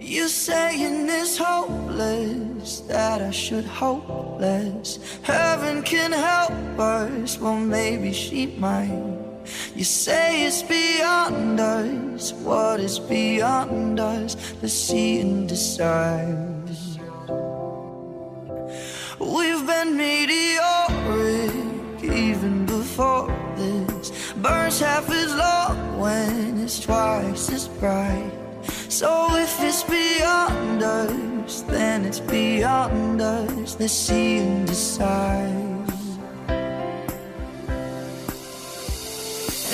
You saying it's hopeless that I should hope less. Heaven can help us, well maybe she might. You say it's beyond us, what is beyond us? Let's see and decide. We've been meteoric even before this. Burns half as long when it's twice as bright. So if it's beyond us, then it's beyond us. Let's see and decide.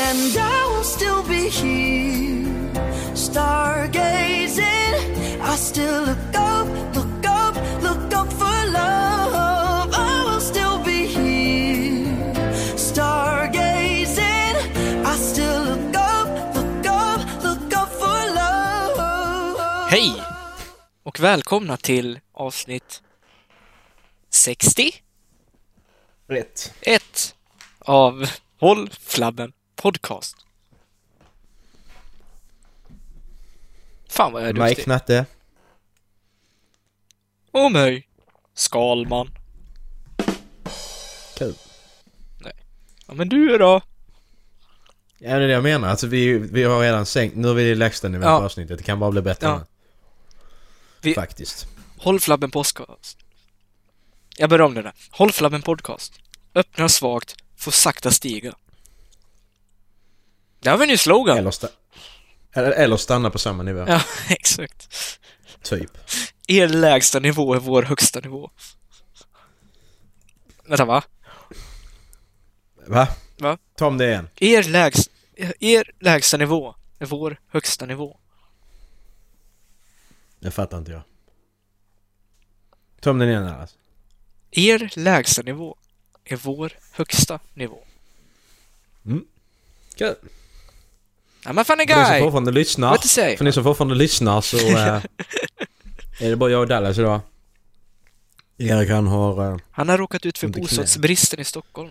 And I will still be here, stargazing. I still look up, look up, look up for love. I will still be here, stargazing. I still look up, look up, look up for love. Hej och välkomna till avsnitt 61 Rätt. av Håll Flabben Podcast. Fan vad jag är Mike duktig. Natte. Och mig, Skalman. Kul. Ja men du då? Ja, det är det jag menar. Alltså, vi, vi har redan sänkt. Nu är vi i lägsta nivån Ja. på avsnittet. Det kan bara bli bättre Ja. än Vi- det. Faktiskt. Håll Flabben Podcast. Jag börjar om det där. Håll Flabben Podcast. Öppnar svagt, får sakta stiga. Där har vi en ny slogan. Eller, sta- eller, eller stanna på samma nivå. Ja, exakt. Typ. Er lägsta nivå är vår högsta nivå. Vänta, va? Va? Va? Ta om det igen. Er, lägst, er lägsta nivå är vår högsta nivå. Det fattar inte jag. Ta om den igen Alice. Er lägsta nivå är vår högsta nivå. Kul. I'm a funny För ni som guy! fortfarande lyssnar. What to say? För ni som fortfarande lyssnar så eh, är det bara jag och Dallas idag. Erik han har... eh, Han har råkat ut för Inte knä. bostadsbristen i Stockholm.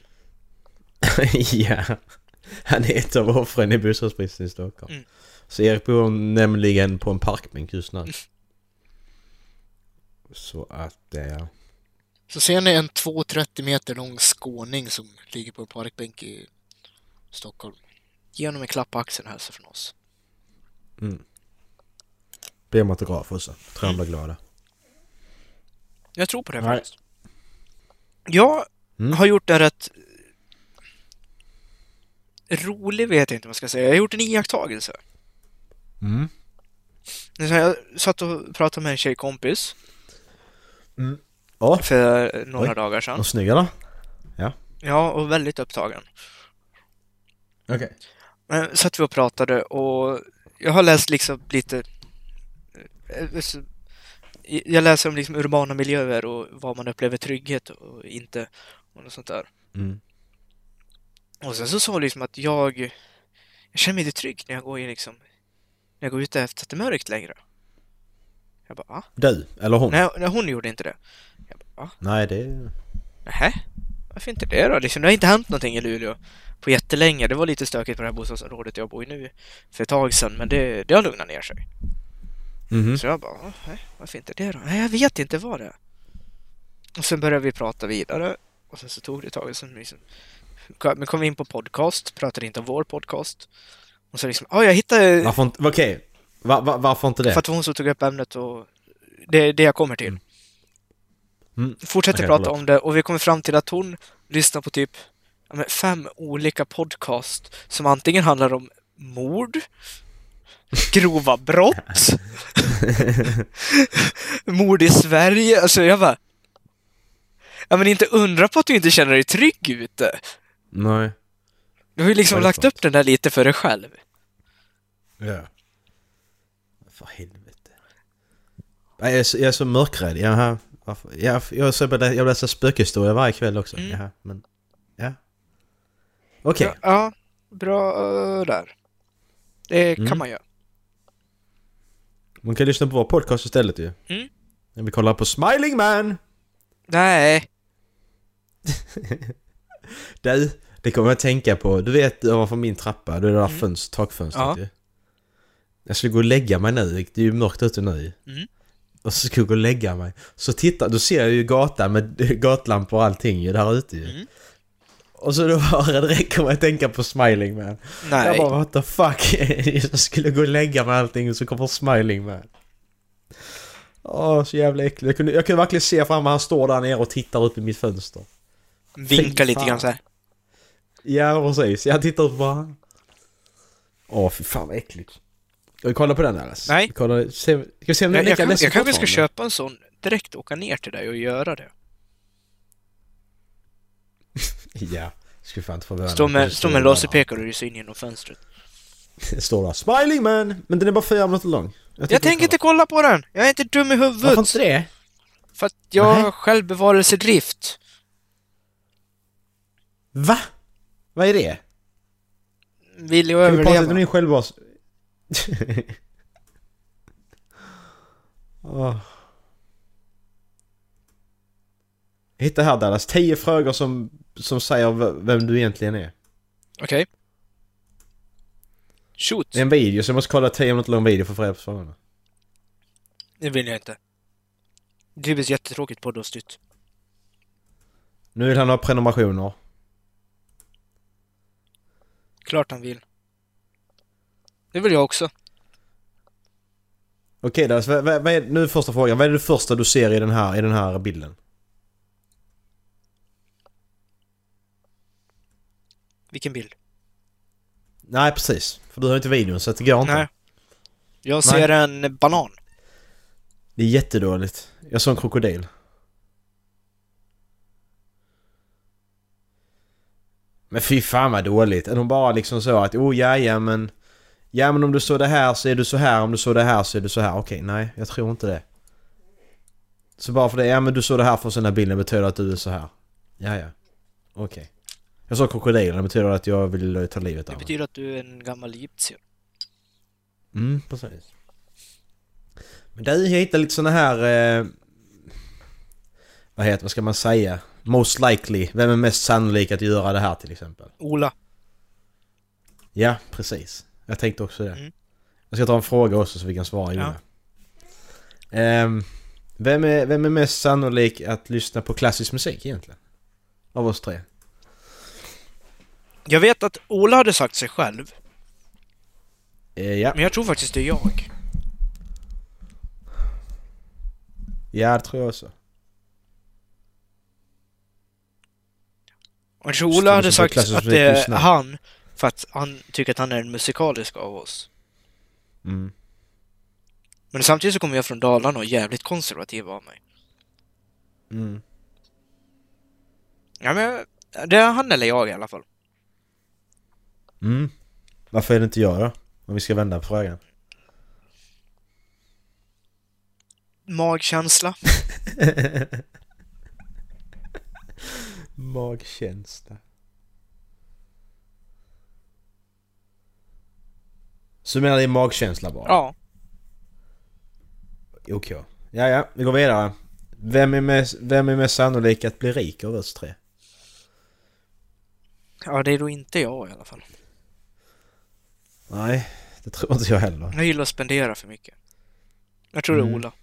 ja. Han är ett av offren i bostadsbristen i Stockholm. Mm. Så Erik bor nämligen på en parkbänk just nu. Så att, eh, Så ser ni en 2,30 meter lång skåning som ligger på en parkbänk i Stockholm. Ge honom en klapp på axeln och hälsa från oss. be om autograf också. Tror han blir glada. Jag tror på det Nej. faktiskt. Jag Mm. har gjort en rätt rolig, vet jag inte vad jag ska säga. Jag har gjort en iakttagelse. Mm. Det är så här, Jag satt och pratade med en tjejkompis Ja, för några Oj. dagar sedan. vad snygg eller? Ja, och väldigt upptagen. Okej. Men satt vi och pratade och jag har läst liksom lite... eh, så- Jag läser om liksom urbana miljöer och var man upplever trygghet och inte. Och något sånt där. Mm. Och sen så sa hon liksom att jag, jag känner mig inte trygg när jag går i liksom, när jag går ute efter att det är mörkt längre. Jag bara, va? Du, eller hon? Nej, Nej, nej, hon gjorde inte det. Jag bara, va? det är... Nähä? Varför inte det då? Liksom, det har inte hänt någonting i Luleå på jättelänge. Det var lite stökigt på det här bostadsområdet jag bor i nu för ett tag sedan, men det, det har lugnat ner sig. Mhm. Så jag bara, "Ah, nej, varför inte det då? Nej, jag vet inte vad det är. Och sen började vi prata vidare och sen så tog det ett tag och sen liksom, men kom vi in på podcast, pratade inte om vår podcast. Och så liksom, ja jag hittade, Varför inte... Okej. Va, va, varför inte det? för att det var hon som tog upp ämnet och det är det jag kommer till. Mm. Fortsätter Okej, prata förlåt. om det och vi kommer fram till att hon lyssnar på typ ja, men fem olika podcast som antingen handlar om mord, grova brott, mord i Sverige. Alltså jag bara... Ja men inte undra på att du inte känner dig trygg ute. Nej. Du har ju liksom Vad är det lagt för upp den där lite för dig själv. Ja. För helvete. Nej, Jag är så, jag är så mörkrädd. Jaha. Varför? Jag, jag, är så, jag lä- jag läser spökhistoria varje kväll också. Mm. Jaha, men... Ja. Okej. Ja, ja, bra eh, där. Det kan Mm. man göra. Man kan lyssna på vår podcast istället ju. Mm. När vi kollar på Smiling Man! Nej. Du, det kommer jag att tänka på. Du vet ovanför min trappa, det är det där fönst, takfönstret Mm. Ja. ju. Jag skulle gå och lägga mig nu, det är ju mörkt ute nu. Mm. Och så skulle jag gå och lägga mig. Så titta, då ser jag ju gatan med gatlampor och allting ju där ute ju. Mm. Och så då bara det direkt kommer jag tänka på Smiling Man. Jag Nej. bara what the fuck. jag skulle gå och lägga mig och allting och så kommer Smiling Man. Åh, så jävla äckligt. Jag kunde, jag kunde verkligen se fram han står där nere och tittar upp i mitt fönster. Vinka Fy lite fan. grann så här. Ja, precis. Jag tittar upp bara. Åh, fy fan vad äckligt. Ska vi kolla på den Alice? Nej. Vi kollar, se, ska vi se om den Jag, lika jag, kan, ledsen jag kanske ska fortfarande? köpa en sån direkt och åka ner till dig och göra det. Ja, skulle fan inte förvåna Stå mig. med, stå med laserpekare och rysa in genom fönstret. Står där. Smiling man! Men den är bara fyra minuter lång. Jag tänker inte kolla på den! Jag är inte dum i Varför huvudet! inte det? För att jag Nej. har självbevarelsedrift. Va? Vad är det? Vill jag Kan vi prata lite om överleva. din självbas? Åh. Hitta här Dallas, 10 frågor som, som säger v- vem du egentligen är. Okej. Shoot! Det är en video så jag måste kolla 10 minuter lång video för att få reda på svararna. Det vill jag inte. Det blir jättetråkigt poddavsnitt. Nu vill han ha prenumerationer. Klart han vill. Det vill jag också. Okej Dallas, vad, vad, vad är, nu är första frågan. Vad är det första du ser i den här, i den här bilden? Vilken bild? Nej precis, för du har inte videon så det går inte. Nej. Jag ser en banan. Det är jättedåligt. Jag såg en krokodil. Men fy fan vad dåligt. Att hon bara liksom så att oh ja, ja men... Ja men om du såg det här så är du så här, om du såg det här så är du så här. Okej, nej jag tror inte det. Så bara för det, ja men du såg det här från den här bilden betyder att du är så här. Ja ja. Okej. Jag såg krokodilen, det betyder att jag vill ta livet av Det henne. betyder att du är en gammal egyptier. Mm, precis. Men du, jag hittade lite såna här... Eh, vad heter vad ska man säga? Most likely. Vem är mest sannolik att göra det här till exempel? Ola. Ja, precis. Jag tänkte också det. Mm. Jag ska ta en fråga också så vi kan svara Ja. ja. ehm, vem, är, vem är mest sannolik att lyssna på klassisk musik egentligen? Av oss tre. Jag vet att Ola hade sagt sig själv, Eh, ja. men jag tror faktiskt det är jag. ja, det tror jag också. Och jag tror Står Ola det hade som sagt klassisk att det är musiklyssnare? han, för att han tycker att han är den musikaliska av oss. Mm. Men samtidigt så kommer jag från Dalarna och är jävligt konservativ av mig. Mm. Ja, men jag- det är han eller jag i alla fall. Mm. Varför är det inte jag då? Om vi ska vända på frågan. Magkänsla. Magkänsla. Så du menar det är magkänsla bara? Ja. Okej. Ja, ja, vi går vidare. Vem är mest, vem är mest sannolik att bli rik av oss tre? Ja, det är då inte jag i alla fall. Nej, det tror inte jag heller. Jag gillar att spendera för mycket. Jag tror det Mm. är Ola.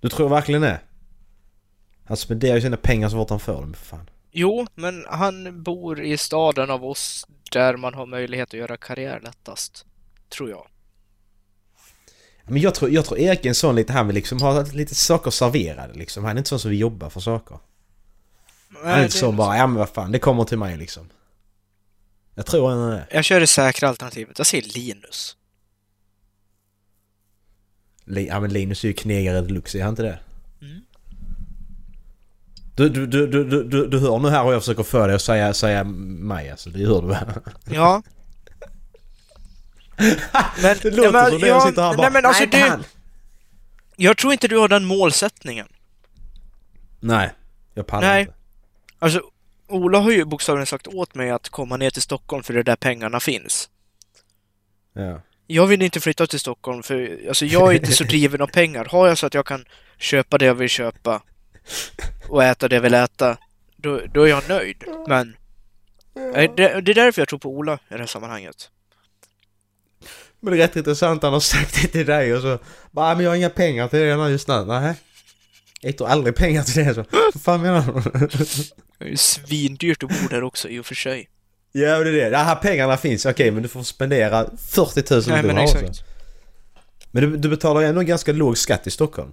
Du tror verkligen det? Alltså, Han spenderar ju sina pengar så fort han får dem, för fan. Jo, men han bor i staden av oss där man har möjlighet att göra karriär lättast. Tror jag. Men jag tror, jag tror Erik är en sån lite, han vill liksom ha lite saker serverade liksom. Han är inte sån som vill jobba för saker. Han är inte sån bara, ja men vad fan, det kommer till mig liksom. Jag tror han är det. Jag kör det säkra alternativet. Jag säger Linus. Li- Ja men Linus är ju knegare deluxe, är han inte det? Mm. Du, du, du, du, du, du, du hör nu här och jag försöker få dig att säga, säga mig alltså, det hör du va? Ja. men, Det nej, låter men, som det, jag sitter här och bara, nej, men alltså, "Nej, inte han." du, Jag tror inte du har den målsättningen. Nej, jag pallar Nej. inte. Alltså, Ola har ju bokstavligen sagt åt mig att komma ner till Stockholm för det är där pengarna finns. Ja. Jag vill inte flytta till Stockholm för alltså, jag är inte så driven av pengar. Har jag så att jag kan köpa det jag vill köpa och äta det jag vill äta, då, då är jag nöjd. Men eh, det, det är därför jag tror på Ola i det här sammanhanget. Men det är rätt intressant, han har sagt det till dig och så bara, men jag har inga pengar till det nu just nu. Nej. Jag tar aldrig pengar till det så. Vad fan menar du? Det är ju svindyrt att bo där också i och för sig. ja, men det är det. De här pengarna finns, okej men du får spendera 40 000 Nej, men dollar också. exakt. Men du, du betalar ändå ganska låg skatt i Stockholm.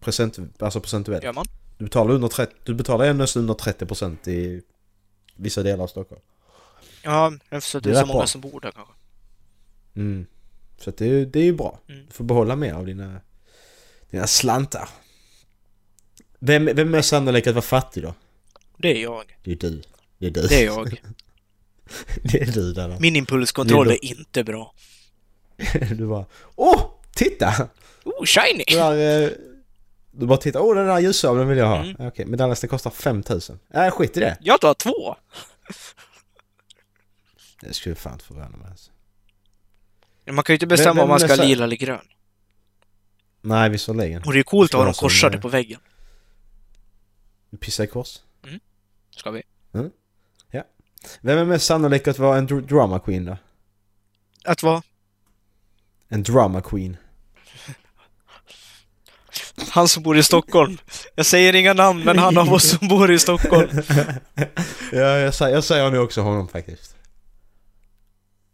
Procent, alltså procentuellt. Gör man? Du betalar, under 30, du betalar ändå nästan under 30% i vissa delar av Stockholm. Ja, eftersom det är Det är så många bra. som bor där kanske. Mm. Så att det, är- det är ju bra. Mm. Du får behålla mer av dina, dina slantar. Vem, vem är sannolikt att vara fattig då? Det är jag. Det är du. Det är du. Det är jag. det är du där. Min impulskontroll Det är är inte bra. Du bara Åh! Titta! Oh, shiny! Det där, eh, du bara tittar, åh den där ljussabeln vill jag ha. Mm. Okej, men Dallas det kostar 5000. Nej, skit i det. Jag tar två! Det skulle fan inte förvåna mig alltså. Man kan ju inte bestämma Men- om man men ska så- lila eller grön. Nej, visserligen. Och det är ju coolt att ha dem Ska jag korsade säga- på väggen. Pissa i kors. Ska vi? Vem är mest sannolik att vara en dr- drama queen då? Att vara En drama queen. han som bor i Stockholm. Jag säger inga namn, men han av oss som bor i Stockholm. Ja, jag säger, jag säger nu också honom faktiskt.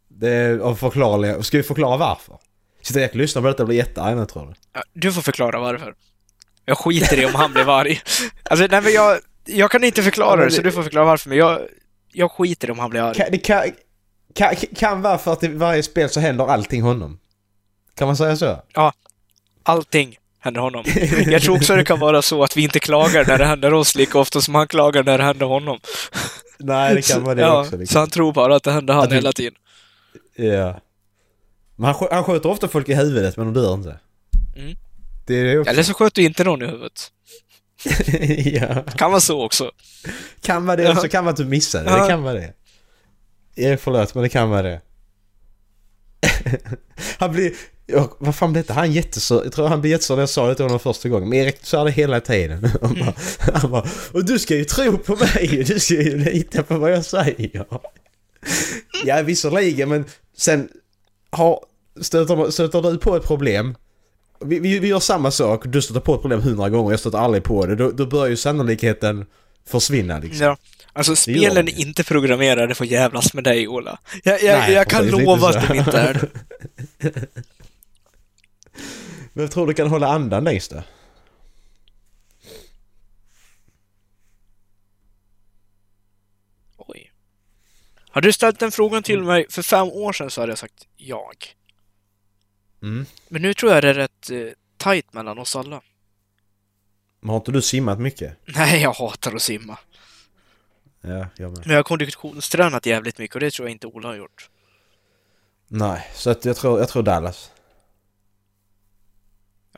Det är av förklarliga... Ska vi förklara varför? Sitter Erik och lyssnar på detta och blir jättearg nu tror du? Ja, Du får förklara varför. Jag skiter i om han blev arg. Alltså, nej men jag... Jag kan inte Ja, förklara men det, så det- du får förklara varför, men jag... Jag skiter i om han blir arg. Kan, det kan, kan, kan vara för att i varje spel så händer allting honom. Kan man säga så? Allting händer honom. Jag tror också det kan vara så att vi inte klagar när det händer oss lika ofta som han klagar när det händer honom. Nej, det kan vara det ja, också. liksom. Så han tror bara att det händer han Att vi- hela tiden. Ja. Men han, skj- han skjuter ofta folk i huvudet men de dör inte. Mm. Det är det också. Eller så sköt du inte någon i huvudet. ja. Kan vara så också. Kan vara det Ja. också, kan vara att du missade. Ja. Det kan vara det. Jag förlåt, men det kan vara det. han blir... ja, vad fan blev det? Han är jättesur. Jag tror han blev jättesur när jag sa det till honom första gången. Men Erik sa det hela tiden. Han bara, han bara, och du ska ju tro på mig! Du ska ju lita på vad jag säger. ja, visserligen, men sen har, stöter, stöter du på ett problem vi, vi, vi gör samma sak, du stöter på ett problem hundra gånger, jag stöter aldrig på det. Då, då börjar ju sannolikheten försvinna liksom. Ja. Alltså gör spelen de är ju. inte programmerade för att jävlas med dig, Ola. Jag, jag, Nej, jag kan precis, lova inte så. att de inte är det. Men jag tror du kan hålla andan längst då? Oj. Har du ställt den frågan till mig för fem år sedan så hade jag sagt jag. Mm. Men nu tror jag det är rätt eh, tajt mellan oss alla. Men har inte du simmat mycket? Nej, jag hatar att simma. Ja, jag med. Men jag har konditionstränat jävligt mycket och det tror jag inte Ola har gjort. Nej, så att jag, tror, jag tror Dallas.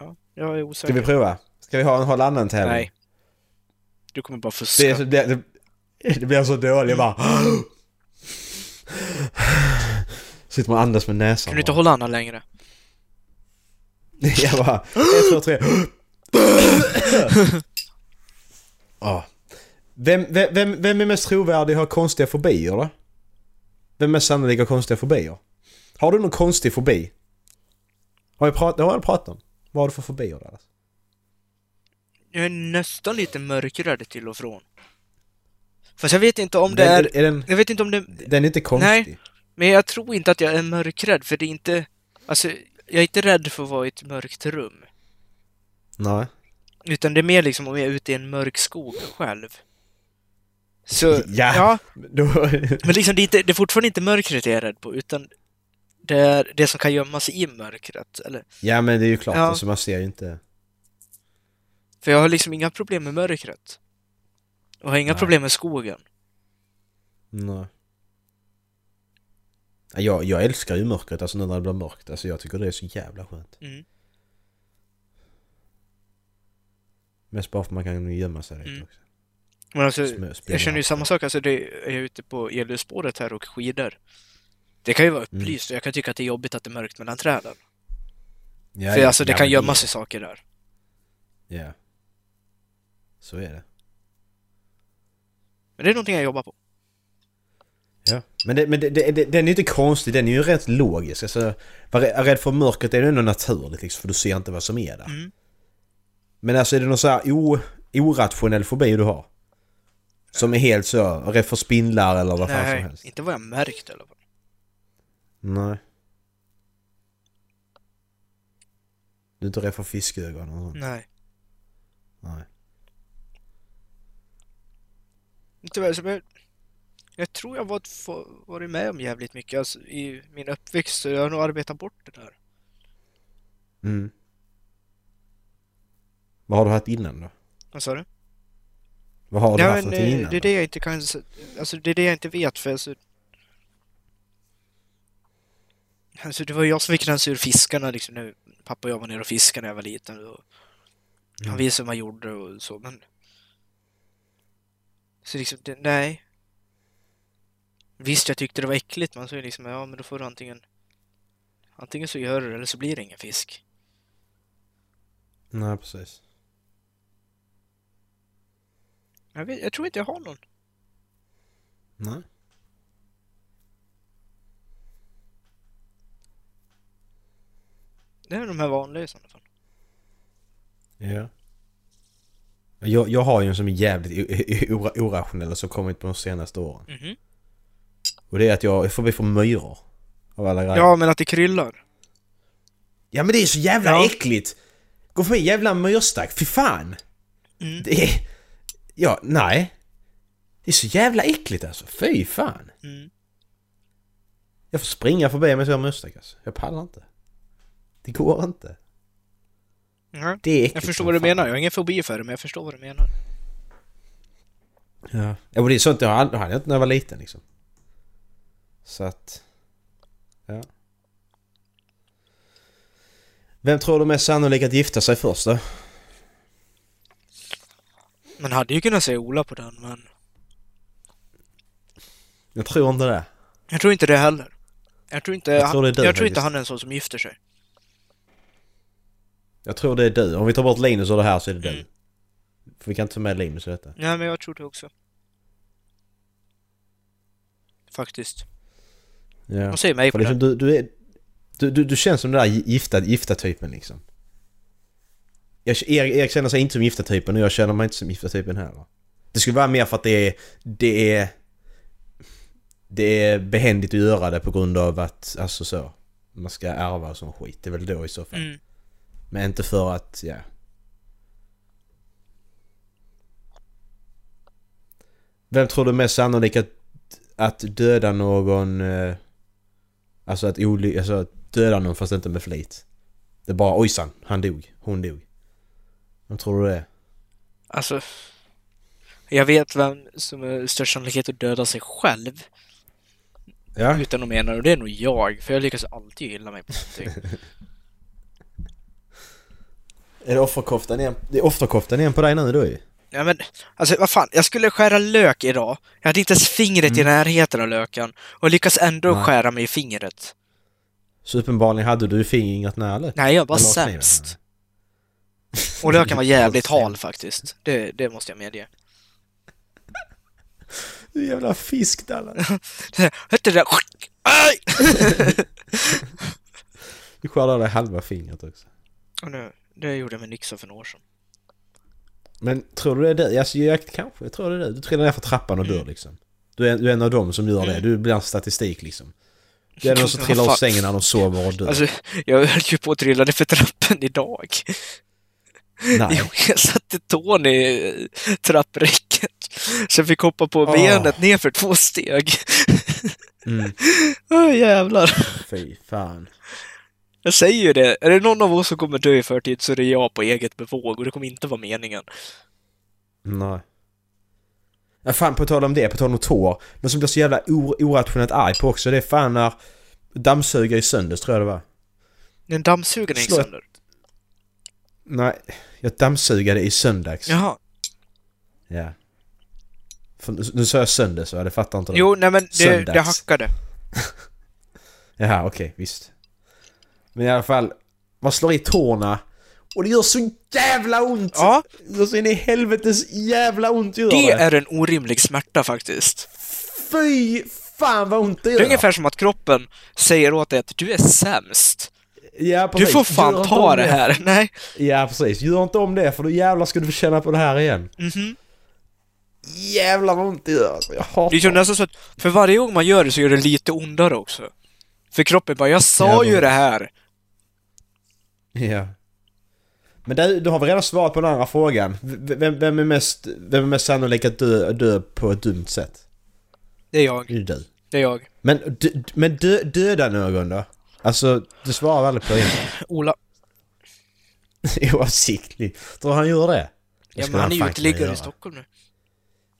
Ja, jag är Ska osäker. vi prova? Ska vi ha en håll andan tävling? Nej. Du kommer bara fuska. Det, är så, det, det, det blir så dåligt, jag bara... Sitter man och andas med näsan. Kan du inte bara. hålla andan längre? Jag bara, ett, två, tre. Ja. Vem, vem, vem, vem är mest trovärdig och har konstiga fobier då? Vem är mest sannolik har konstiga fobier? Har du någon konstig fobi? Har jag pratat, har jag pratat om? Vad har du för fobier där? Jag är nästan lite mörkrädd till och från. Fast jag vet inte om det den, är... är den, Jag vet inte om det... den är inte konstig. Nej. Men jag tror inte att jag är mörkrädd, för det är inte... Alltså, jag är inte rädd för att vara i ett mörkt rum. Nej. Utan det är mer liksom om jag är ute i en mörk skog själv. Så... Ja. ja Då, men liksom det är, inte, det är fortfarande inte mörkret jag är rädd på, utan det är det som kan gömma sig i mörkret. Eller ja men det är ju klart, Ja. alltså, man ser ju inte. För jag har liksom inga problem med mörkret. Och har inga Nej. problem med skogen. Nej. Ja, Jag, jag älskar ju mörkret, alltså nu när det blir mörkt. Alltså jag tycker det är så jävla skönt. Mm. Mest bara för man kan gömma sig lite Mm. också. Men alltså, Smö- spela jag känner ju hatt. samma sak. Alltså, det är jag ute på elljusspåret här och skidor. Det kan ju vara Mm. upplyst och jag kan tycka att det är jobbigt att det är mörkt mellan träden. Ja, För ja, alltså, det ja, kan men gömma sig saker där. Ja. Så är det. Men det är någonting jag jobbar på. Ja. Men, det, men det, det, det, den är ju inte konstig, den är ju rätt logisk. Alltså, var rä- rädd för mörkret är ju ändå naturligt liksom, för du ser inte vad som är där. Mm. Men alltså är det någon så här o, orationell fobi du har? Som är helt så, rädd för spindlar eller vad fan som Nej, helst? inte vad jag märkt eller vad. Nej. Du är inte rädd för fiskögon och sånt? Nej. Nej. Tyvärr så jag, jag tror jag varit, få- varit med om jävligt mycket alltså, i min uppväxt så jag har nog arbetat bort det där. Mm. Vad har du haft innan då? Vad sa du? Vad har du Ja, men, haft något eh, innan? det är då? det jag inte kan... s- Alltså det är det jag inte vet för alltså... Alltså det var jag som fick rensa ur fiskarna liksom när pappa och jag var nere och fiskade när jag var liten. Och Han visade hur man gjorde och så men... Så liksom, det, nej. Visst jag tyckte det var äckligt men så är det liksom, ja men då får du antingen... Antingen så gör du det eller så blir det ingen fisk. Nej, precis. Jag, vet, jag tror inte jag har någon. Nej. Det är de här vanliga i sådana fall. Ja. Jag, jag har ju en som är jävligt o- o- o- orationell och som kommit på de senaste åren. Mhm. Och det är att jag får bli för myror. Av alla grejer. Ja men att det kryllar. Ja, men det är så jävla Ja. äckligt! Gå förbi en jävla myrstack, fy fan! Mm. Det är... Ja, nej. Det är så jävla äckligt alltså, fy fan! Mm. Jag får springa förbi om jag ser en myrstack alltså. Jag pallar inte. Det går inte. Ja. Det är äckligt Jag som förstår vad du fan. menar, jag har ingen fobi för det men jag förstår vad du menar. Ja. ja, och det är sånt jag hade hade jag inte när jag var liten liksom. Så att... Ja. Vem tror du är mest sannolik att gifta sig först då? Man hade ju kunnat säga Ola på den men Jag tror inte det. jag tror inte det heller. Jag tror inte, Jag tror det är du jag tror inte faktiskt. han är en sån som gifter sig. Jag tror det är du. Om vi tar bort Linus och det här så är det du. För vi kan inte ta med Linus i detta. Nej men jag tror det också. Faktiskt. Ja. De säger mig på För liksom, den. du, du, är, du, du, du känns som den där gifta, gifta typen liksom. Jag, Erik, Erik känner sig inte som gifta typen och jag känner mig inte som gifta typen heller. Det skulle vara mer för att det är... Det är, det är behändigt att göra det på grund av att, alltså så. Man ska ärva och sån skit. Det är väl då i så fall. Mm. Men inte för att, ja. Vem tror du är mest sannolikt att, att döda någon... Eh, alltså att oly- alltså att döda någon fast inte med flit? Det är bara ojsan, han dog, hon dog. Vem tror du det är? Alltså. Jag vet vem som är störst sannolikhet att döda sig själv Ja, utan att mena det, och det är nog jag. För jag lyckas alltid gilla mig på någonting. är det offerkoftan igen? Det är offerkoftan igen på dig nu då ju. Ja men, alltså vad fan. Jag skulle skära lök idag. Jag hade inte ens fingret i närheten av löken. Och lyckas ändå Mm. Nej. skära mig i fingret. Så uppenbarligen hade du fingret nära löken. Nej, jag var Eller kniven. sämst. Och löken var jävligt Sämst. hal faktiskt. Det, det måste jag medge. Du jävla fisk Dallan. Hette det där? Aj! Du skär av dig halva fingret också. Och nu, det gjorde jag med Nixa för några år sedan. Men tror du det är det? Alltså, jag kanske, jag tror det är det. Du trillar ner för trappan och Mm. dör liksom. Du är, du är en av dem som gör det. Du blir en statistik liksom. Du är den som trillar ur Fan. sängen när de sover och dör. Alltså, jag höll ju på att trilla ner för trappen idag. Nej. Jo, jag satte tån i eh, trappräcket. Så jag fick hoppa på benet ner för två steg. Mm. Åh jävlar. Fy fan. Jag säger ju det. Är det någon av oss som kommer dö i förtid så är det jag på eget bevåg och det kommer inte vara meningen. Nej. Ja, fan på tal om det, på tal om tår. Något som blir så jävla or- orationellt arg på också, det är fan när dammsugare i sönders tror jag det var. En dammsugare gick Slå ett- sönder. Nej, jag dammsugade i söndags. Jaha. Ja. För, nu- nu sa jag söndags va? Det fattar inte du. Jo, nej men det, det Söndags. hackade. Jaha, okej, visst. Men i alla fall, man slår i tårna och det gör så jävla ont! Ja, Det gör så in i helvetes jävla ont gör det det! är en orimlig smärta faktiskt. Fy fan vad ont det Det gör! är ungefär som att kroppen säger åt dig att du är sämst. ja, Du precis. får Gör fan inte om ta det här. Nej. Ja precis, gör inte om det för då jävlar ska du få känna på det här igen. Mhm. Jävlar vad ont det gör alltså. Jag hatar Det är ju nästan så att för varje gång man gör det så gör det lite ondare också. För kroppen bara, jag sa Jävlar. ju det här. Ja. Men där, då har vi redan svarat på den andra frågan. V- Vem, vem, är, mest, vem är mest sannolik att dö, dö på ett dumt sätt? Det är Det jag. är ju du. Det är jag. Men, dö, men dö, döda någon då? Alltså, du svarar aldrig på det. Ola. Oavsiktligt. Tror han gör det? Det Ja, skulle men han är ju fan kunna uteliggare göra. i Stockholm nu.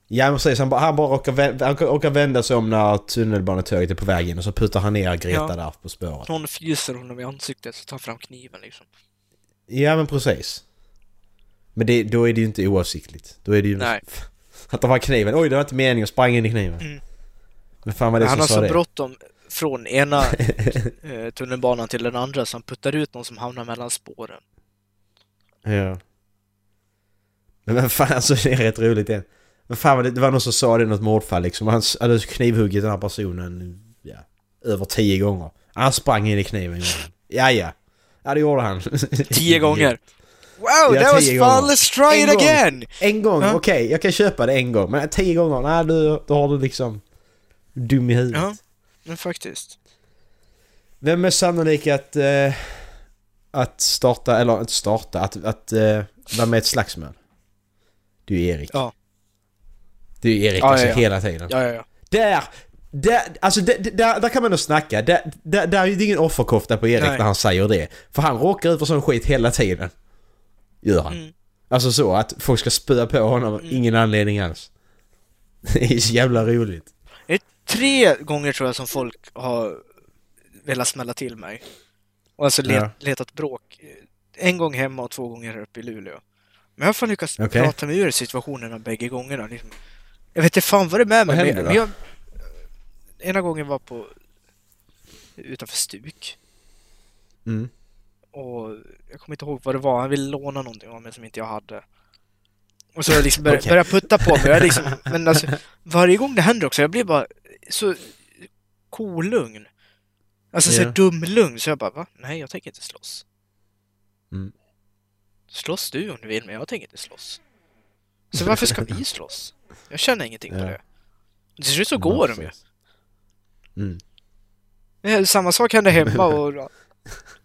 Ja men precis, han bara, han bara råkar, vä- han råkar vända sig om när tunnelbanetåget är på väg in och så putar han ner Greta Ja. där på spåret. Någon fryser honom i ansiktet så tar han fram kniven liksom. Ja men precis. Men det, då är det ju inte oavsiktligt. Då är det ju... Nej. Han tar fram kniven. Oj, det var inte meningen och sprang in i kniven. Mm. Men fan var det han som har sa så det? bråttom från ena eh, tunnelbanan till den andra så han puttar ut någon som hamnar mellan spåren. Ja. Men vem fan, alltså det är rätt roligt igen. Men fan var det, det var någon som sa det i något mordfall liksom. Han s- hade knivhuggit den här personen, ja, över tio gånger. Han sprang in i kniven. gjorde han. Ja, ja. Ja, det gjorde han. Tio gånger! Wow, Ja, that was tio fun! gånger. Let's try En it gång. again! En gång, Ja. okej, jag kan köpa det en gång. Men tio gånger, nej du, då har du liksom dum i huvudet. Ja, men faktiskt. Vem är sannolik att, eh, att starta, eller att starta, att, att eh, vara med i ett slagsmål? Du är Erik. Ja. Du är Erik Ja, alltså ja, ja. hela tiden. Ja, ja, ja. Där! Där, alltså där, där, där kan man nog snacka. Där, där, där är ju ingen offerkofta på Erik Nej. när han säger det. För han råkar ut för sån skit hela tiden. Gör han. Mm. Alltså så att folk ska spöa på honom av ingen anledning alls. Det är så jävla roligt. Det är tre gånger tror jag som folk har velat smälla till mig. Och alltså let, Ja. letat bråk. En gång hemma och två gånger här uppe i Luleå. Men jag har fan lyckats Okej. prata mig ur situationerna bägge gångerna. Liksom. Jag vet inte fan vad det är med Vad mig. men- hände då? men jag, ena gången var på utanför Stuk. Mm. Och jag kommer inte ihåg vad det var. Han ville låna någonting av mig som inte jag hade. Och så har jag liksom börjat, Okej. börjat putta på mig. Jag är liksom, men alltså, varje gång det händer också, jag blir bara så kolugn. Alltså Ja. så dumlugn. Så jag bara, va? Nej, jag tänker inte slåss. Mm. Slåss du om du vill, men jag tänker inte slåss. Så varför ska vi slåss? Jag känner ingenting Ja. på det. Till slut så går de ju. Mm. Det är Samma sak hände hemma och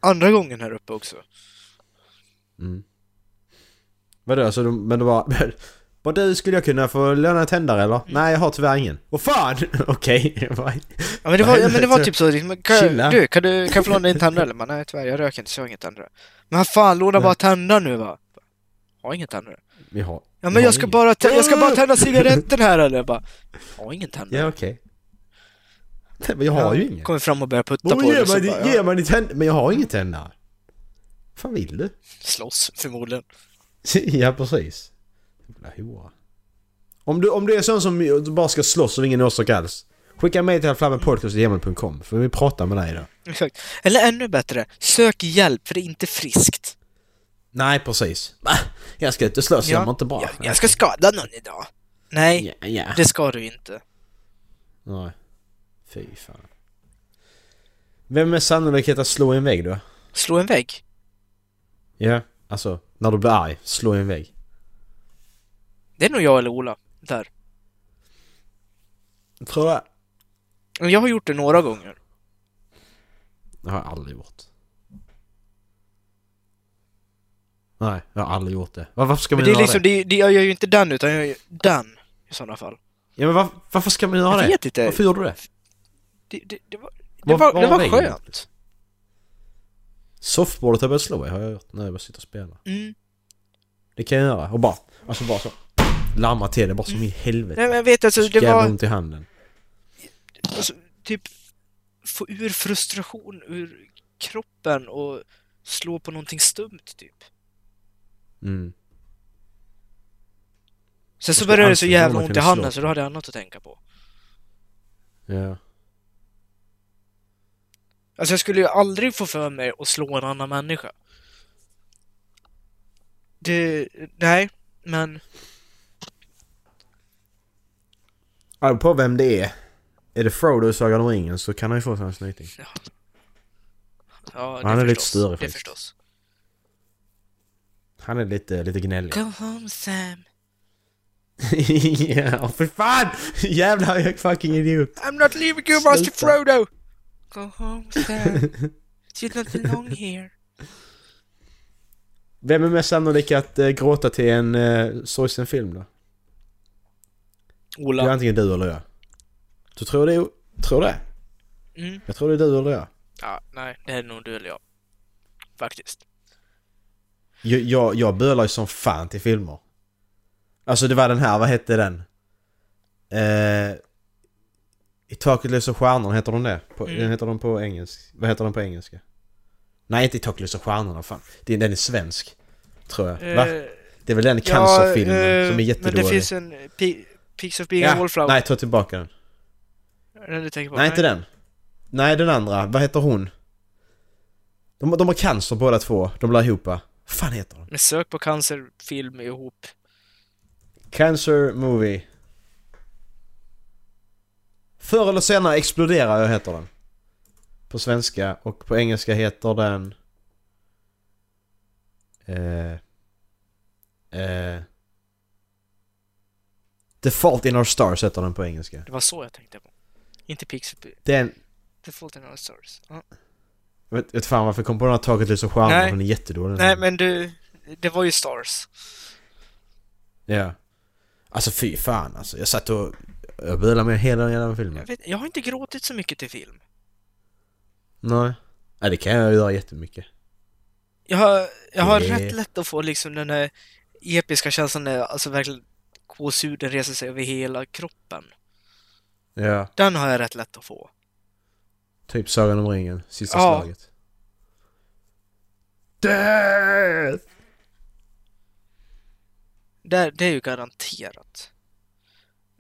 andra gången här uppe också. Mm. Vadå, så de, men det var... Bara du, skulle jag kunna få låna en tändare eller? Mm. Nej, jag har tyvärr ingen. Åh fan! Okej, okay. Ja men det var, ja, men det var typ så, liksom, kan, Chilla. du, kan du, kan jag få låna din tändare? Eller, bara, nej tyvärr, jag röker inte så jag har ingen tändare. Men fan, låna bara tändare nu va? Har ingen tändare. vi har... Ja vi men har jag ska, ingen. bara, tä- jag ska bara tända cigaretten här eller? Jag bara, har ingen tändare. Ja, okej. Nej, Men jag har ju ingen. Kommer fram och börjar putta Men på ge det. så mig, bara, din- ja, ge mig din tändare. Men jag har ingen tändare. fan vill du? Slåss förmodligen. ja, precis. Jävla hora. Om du, om du är sån som du bara ska slåss och ingen orsak alls. Skicka med till flammepodcast.gmail.com för vi pratar med dig då. Exakt. Eller ännu bättre, sök hjälp för det är inte friskt. Nej, precis. Jag ska inte slåss, jag mår inte bra. jag, jag ska skada någon idag. Nej, Ja, ja. det ska du inte. Nej. Fy fan. Vem är sannolikhet att slå i en vägg då? Slå en vägg. Ja, alltså när du blir arg, slå i en vägg. Det är nog jag eller Ola. Där. Tror jag. Jag har gjort det några gånger. Det har jag aldrig gjort. Nej, jag har aldrig gjort det. Var- Varför ska man Men det är göra liksom, det? det, är- det, jag gör ju inte den utan jag gör den i sådana fall. Ja, men var, varför ska man göra Jag det? vet inte. Varför gjorde du det? Det, det, det var, det Vad- var, vad det var var vägen? skönt. Softboardet har jag börjat slå i, har jag gjort när jag bara sitter och spelar. Mm. Det kan jag göra. Och bara, alltså bara så. Larma till det bara som i helvete. Nej, men jag vet alltså, det Jävla var ont i handen. alltså, typ få ur frustration ur kroppen och slå på någonting stumt typ. Mm. Sen så ska började det så alltid jävla någon ont i kunna slå handen på. så då hade jag annat att tänka på. Ja. Alltså jag skulle ju aldrig få för mig att slå en annan människa. Det, nej, men Ja, på vem det är. är det Frodo i Sagan om ringen så kan han ju få sig en snyting. Ja. Ja, det Han är lite förstås. större Det faktiskt. förstås. Han är lite, lite gnällig. Go home Sam. ja, för fan! Jävla hög fucking idiot. I'm not leaving you, Master Sluta. Frodo! Go home Sam. You don't belong here. Vem är mest sannolik att eh, gråta till en eh, sorgsen film då? Det är Ola. antingen du eller jag. Du tror det? är- Tror det? Mm. Jag tror det är du eller jag. Ja, nej, det är nog du eller jag. Faktiskt. Jag, jag, jag bölar ju som fan till filmer. Alltså det var den här, vad hette den? Eh, I taket lyser stjärnorna, heter de det? På, Mm. Den heter de på engelska. Vad heter de på engelska? Nej, inte I taket lyser stjärnorna, fan. Det- Den är svensk. Tror jag. Va? Eh, Det är väl den ja, cancerfilmen eh, som är Men jättedålig. det finns en eh, Pe- Peaks of Being a ja, Wallflower. nej, ta tillbaka den. Är det Den du tänker på? Nej, inte den. Nej, den andra. Vad heter hon? De, de har cancer båda två. De blir ihop. va? Vad fan heter de? Men sök på cancerfilm ihop. Cancer Movie. Förr eller senare exploderar jag heter den. På svenska och på engelska heter den... Eh, eh, The Fault in Our Stars heter den på engelska. Det var så jag tänkte på. Inte Peaks of Be- Den... The Fault in Our Stars. Mm. Ja. Jag vet, vet fan varför jag kom på den här Taket lyser stjärnor. Nej. Den är jättedålig. Nej, men du... Det var ju Stars. Ja. Alltså fy fan alltså. Jag satt och... Jag bölade med hela den jävla filmen. Jag, vet, jag har inte gråtit så mycket till film. Nej. Nej, det kan jag göra jättemycket. Jag har, jag har Det- rätt lätt att få liksom den här episka känslan när alltså verkligen gåshuden reser sig över hela kroppen. Ja. Den har jag rätt lätt att få. Typ Sagan om ringen, sista Ja. slaget. Death! Det, det är ju garanterat.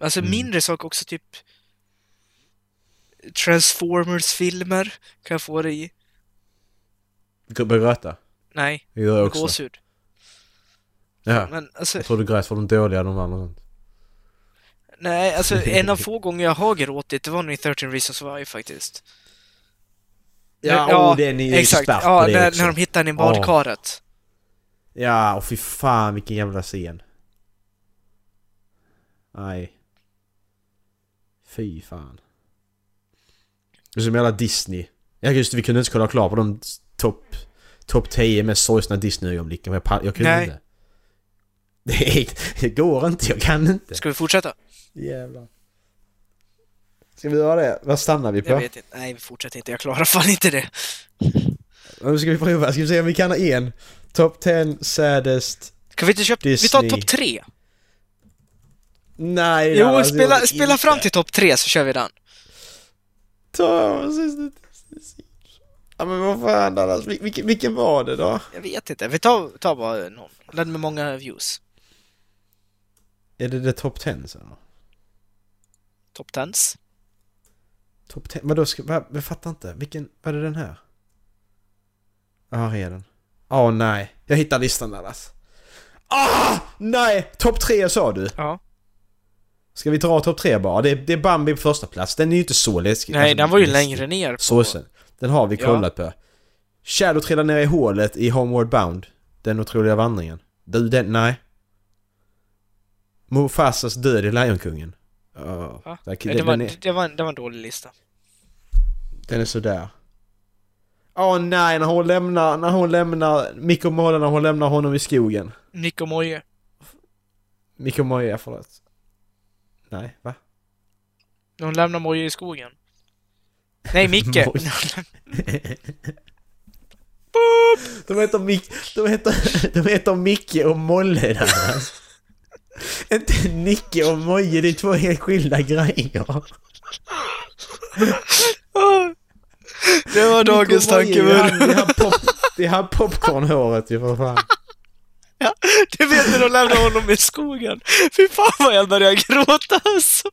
Alltså Mm. mindre saker också, typ Transformers-filmer kan jag få det i. Du börjar gråta. Nej, Det gör jag också. gåshud. Ja. Men alltså, Jag tror du grät för de dåliga de vann och sånt. nej, alltså en av få gånger jag har gråtit, det var nog i 13 Reasons Why faktiskt. Ja, Ja, oh, det är ni Exakt, expert på ja, det när, också. när de hittar henne i badkaret. Ja, och fy fan vilken jävla scen. Nej. Fy fan. Det är som hela Disney. Ja just det, vi kunde inte kolla klart på de topp top 10 mest sorgsna Disney-ögonblicken. Jag, pa- jag kunde Nej. inte. Det, är, det går inte, jag kan inte. Ska vi fortsätta? Jävlar. Ska vi göra det? Vad stannar vi Jag på? vet inte. Nej, vi fortsätter inte. Jag klarar fan inte det. Nu ska vi prova, ska vi se om vi kan ha en? Top 10 saddest... Kan vi inte köpa... Vi tar Disney. topp tre. Nej, det Jo, hade jag spela, inte. spela fram till topp tre så kör vi den. Ta sista Ja men vad fan Dallas, Vil- vilken, vilken var det då? Jag vet inte. Vi tar, tar bara någon. Den med många views. Är det det top 10 sen då? Top tens. Top 10? Vadå, ska, va, jag fattar inte. Vilken, var det den här? Ja, här är den. Åh nej, jag hittar listan Dallas. Ah! Nej! Topp 3 sa du! Ja. Ska vi dra topp 3 bara? Det, det är Bambi på första plats. Den är ju inte så läskig. Nej, Alltså, den var ju läskig. längre ner. På. Såsen. Den har vi Ja. kollat på. Shadow trillar ner i hålet i Homeward Bound. Den otroliga vandringen. Du, den, nej. Mufasas död i Lejonkungen. Oh, Va? den, Nej, det, var, den, är, det, var en, det var en dålig lista. den är sådär. Åh nej, när hon lämnar, när hon lämnar Mikko Molle, när hon lämnar honom i skogen. Nico Moje. Mikko Moja, förlåt. Nej, va? När hon lämnar Moje i skogen. Nej, Micke. Moje. De heter Mick... De heter, de heter Micke och Molle där. alltså. Inte Nicke och Moje, det är två helt skilda grejer. det var dagens Micke och Moje, det är tankevurm. han- det är han pop- Det är han popcornhåret ju för fan. Ja, det vet när de lämnar honom i skogen. Fy fan vad jag började gråta alltså.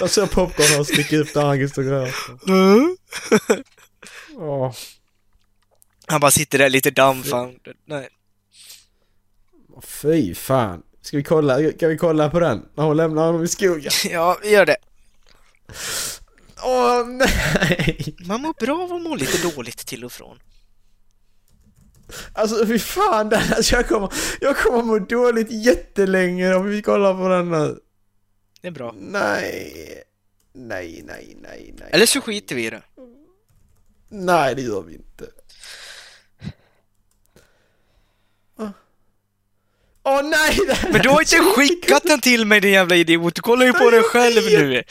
Jag såg popcornhåret sticka upp där han stod och rörde sig. Mm. Åh. Han bara sitter där lite dumbfounded. Nej. Fy fan. Ska vi kolla, kan vi kolla på den? När hon lämnar honom i skogen. Ja, vi gör det. Åh nej! Man mår bra av att må lite dåligt till och från. Alltså fy fan Dallas, jag kommer, jag kommer må dåligt jättelänge om vi kollar på den här. Det är bra. Nej. Nej, nej, nej, nej. Eller så skiter vi i det. Nej, det gör vi inte. Åh Ah. Åh, nej! det här Men du har är inte så- skickat den till mig din jävla idiot! Du kollar ju på Nej, den jag själv vet. nu!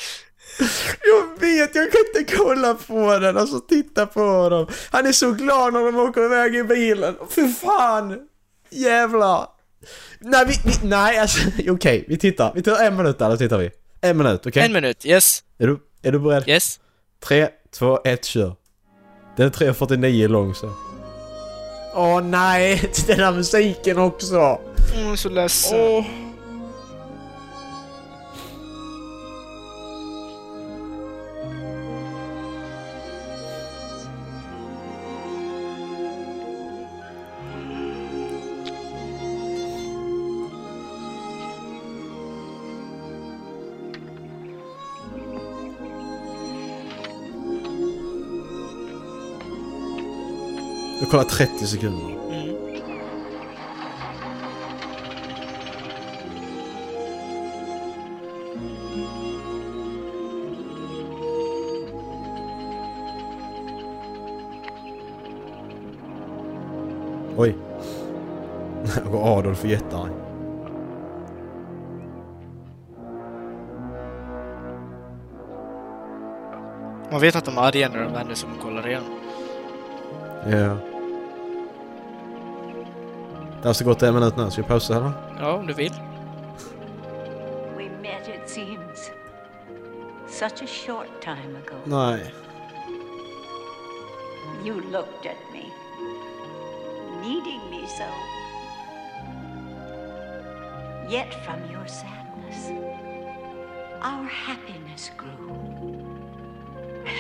Jag vet, jag kan inte kolla på den. Alltså titta på dem. Han är så glad när de åker iväg i bilen. För fan! Jävlar! Nej, vi, vi, nej alltså okej, vi tittar. Vi tar en minut där, då tittar vi. En minut, okej? En minut, yes, Är du, är du beredd? yes. Tre, två, ett, kör. Den är 3.49 lång så. Åh nej, den här musiken också! Åh, Mm, jag är så ledsen. Åh. Jag kollar 30 sekunder. Oj. Här går Adolf och är jättearg. Man vet att de är arga när de vänder sig om och kollar igen. Ja. Det har så gått en minut nu, ska vi pausa eller? Ja, om du vill. We met, it seems. Such a short time ago. Nej. You looked at me, needing me so. Yet from your sadness, our happiness grew.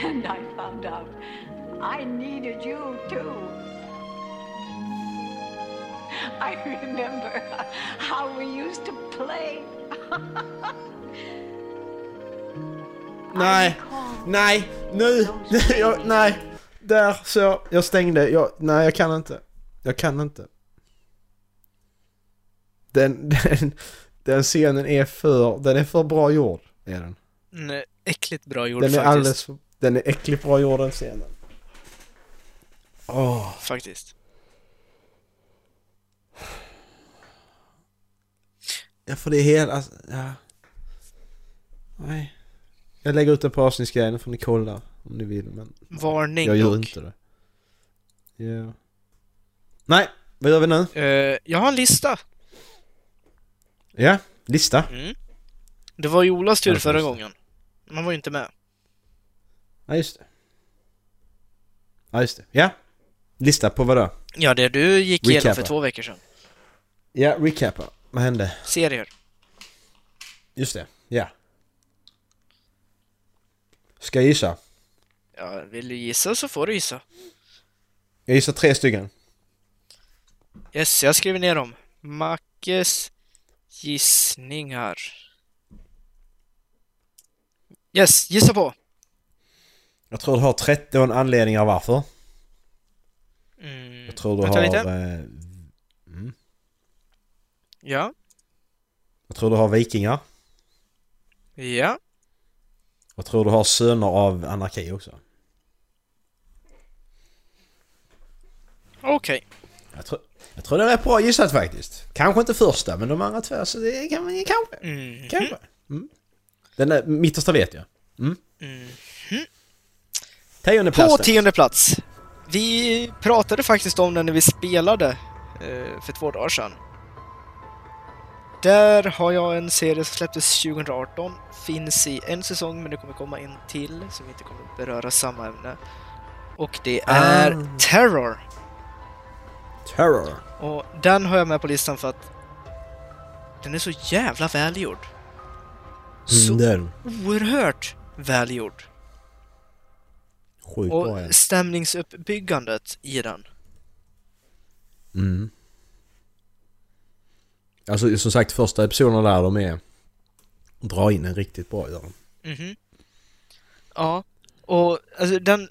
And I found out I needed you too. I remember how we used to play. Nej! Nej! Nu! Jag, nej! Där så. Jag stängde. Jag, nej, jag kan inte. Jag kan inte. Den, den, den scenen är för, den är för bra gjord. Är den. Mm, äckligt bra gjord Den är faktiskt. alldeles för, den är äckligt bra gjord den scenen. Åh. faktiskt. Ja, för det är hela... Alltså, ja. Nej. Jag lägger ut den på avsnittsgrejen, får ni kolla om ni vill, men Varning jag gör dock. inte det. Ja. Nej, vad gör vi nu? Eh, jag har en lista. Ja, lista. Mm. Det var ju Olas tur Ja, förra just det. gången. Man var ju inte med. Ja, just det. Ja, just det. Ja. Lista på vad då? Ja, det du gick igenom för Recapa. två veckor sedan. Ja, recapa. Vad hände? Serier. Just det. Ja. Ska jag gissa? Ja, vill du gissa så får du gissa. Jag gissar tre stycken. Yes, jag skriver ner dem. Mackes gissningar. Yes, gissa på! Jag tror du har 13 anledningar varför. Mm. Jag tror du Vänta har... lite. Eh, Ja, jag tror du har vikingar. ja, Jag tror du har söner av anarki också. okej. Jag tror, jag tror det är rätt bra gissat faktiskt. Kanske inte första, men de andra två, så det kan man kanske. Mm. Kanske. Mm. Den där mittersta vet jag. Mm. Tionde Mhm. På plats. tionde plats. Vi pratade faktiskt om den när vi spelade eh, för två dagar sedan. Där har jag en serie som släpptes 2018. Finns i en säsong, men det kommer komma en till som inte kommer beröra samma ämne. Och det är Ah. Terror. Terror. Och den har jag med på listan för att den är så jävla välgjord. Så Mm, det är den. oerhört välgjord. Sjukt bra ja. Och stämningsuppbyggandet i den. Mm. Alltså som sagt, första episoderna där de är... Dra in en riktigt bra gör de. Mhm. Ja, Och alltså, den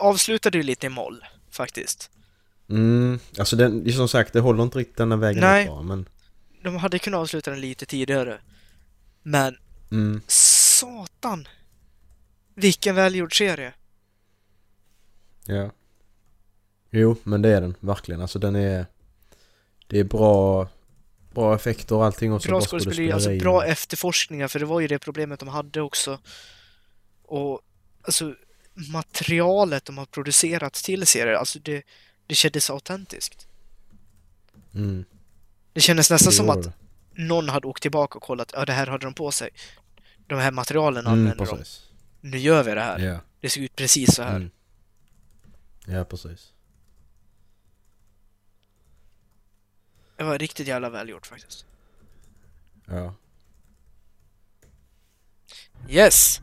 avslutade ju lite i moll, faktiskt. Mm, alltså den, som sagt det håller inte riktigt denna vägen Nej. upp bara, men... De hade kunnat avsluta den lite tidigare. Men Mm. satan! Vilken välgjord serie! Ja. Jo, men det är den verkligen. Alltså den är... Det är bra... Bra effekter och allting också. Bra skådespeleri, alltså Mm. bra efterforskningar, för det var ju det problemet de hade också. Och alltså materialet de har producerat till serien, alltså det, det kändes autentiskt. Mm. Det kändes nästan det som gjorde att det. någon hade åkt tillbaka och kollat, ja det här hade de på sig. De här materialen Mm, använder de. precis. Nu gör vi det här. Ja. Det ser ut precis så här. Mm. Ja, precis. Det var riktigt jävla välgjort faktiskt. Ja. Yes!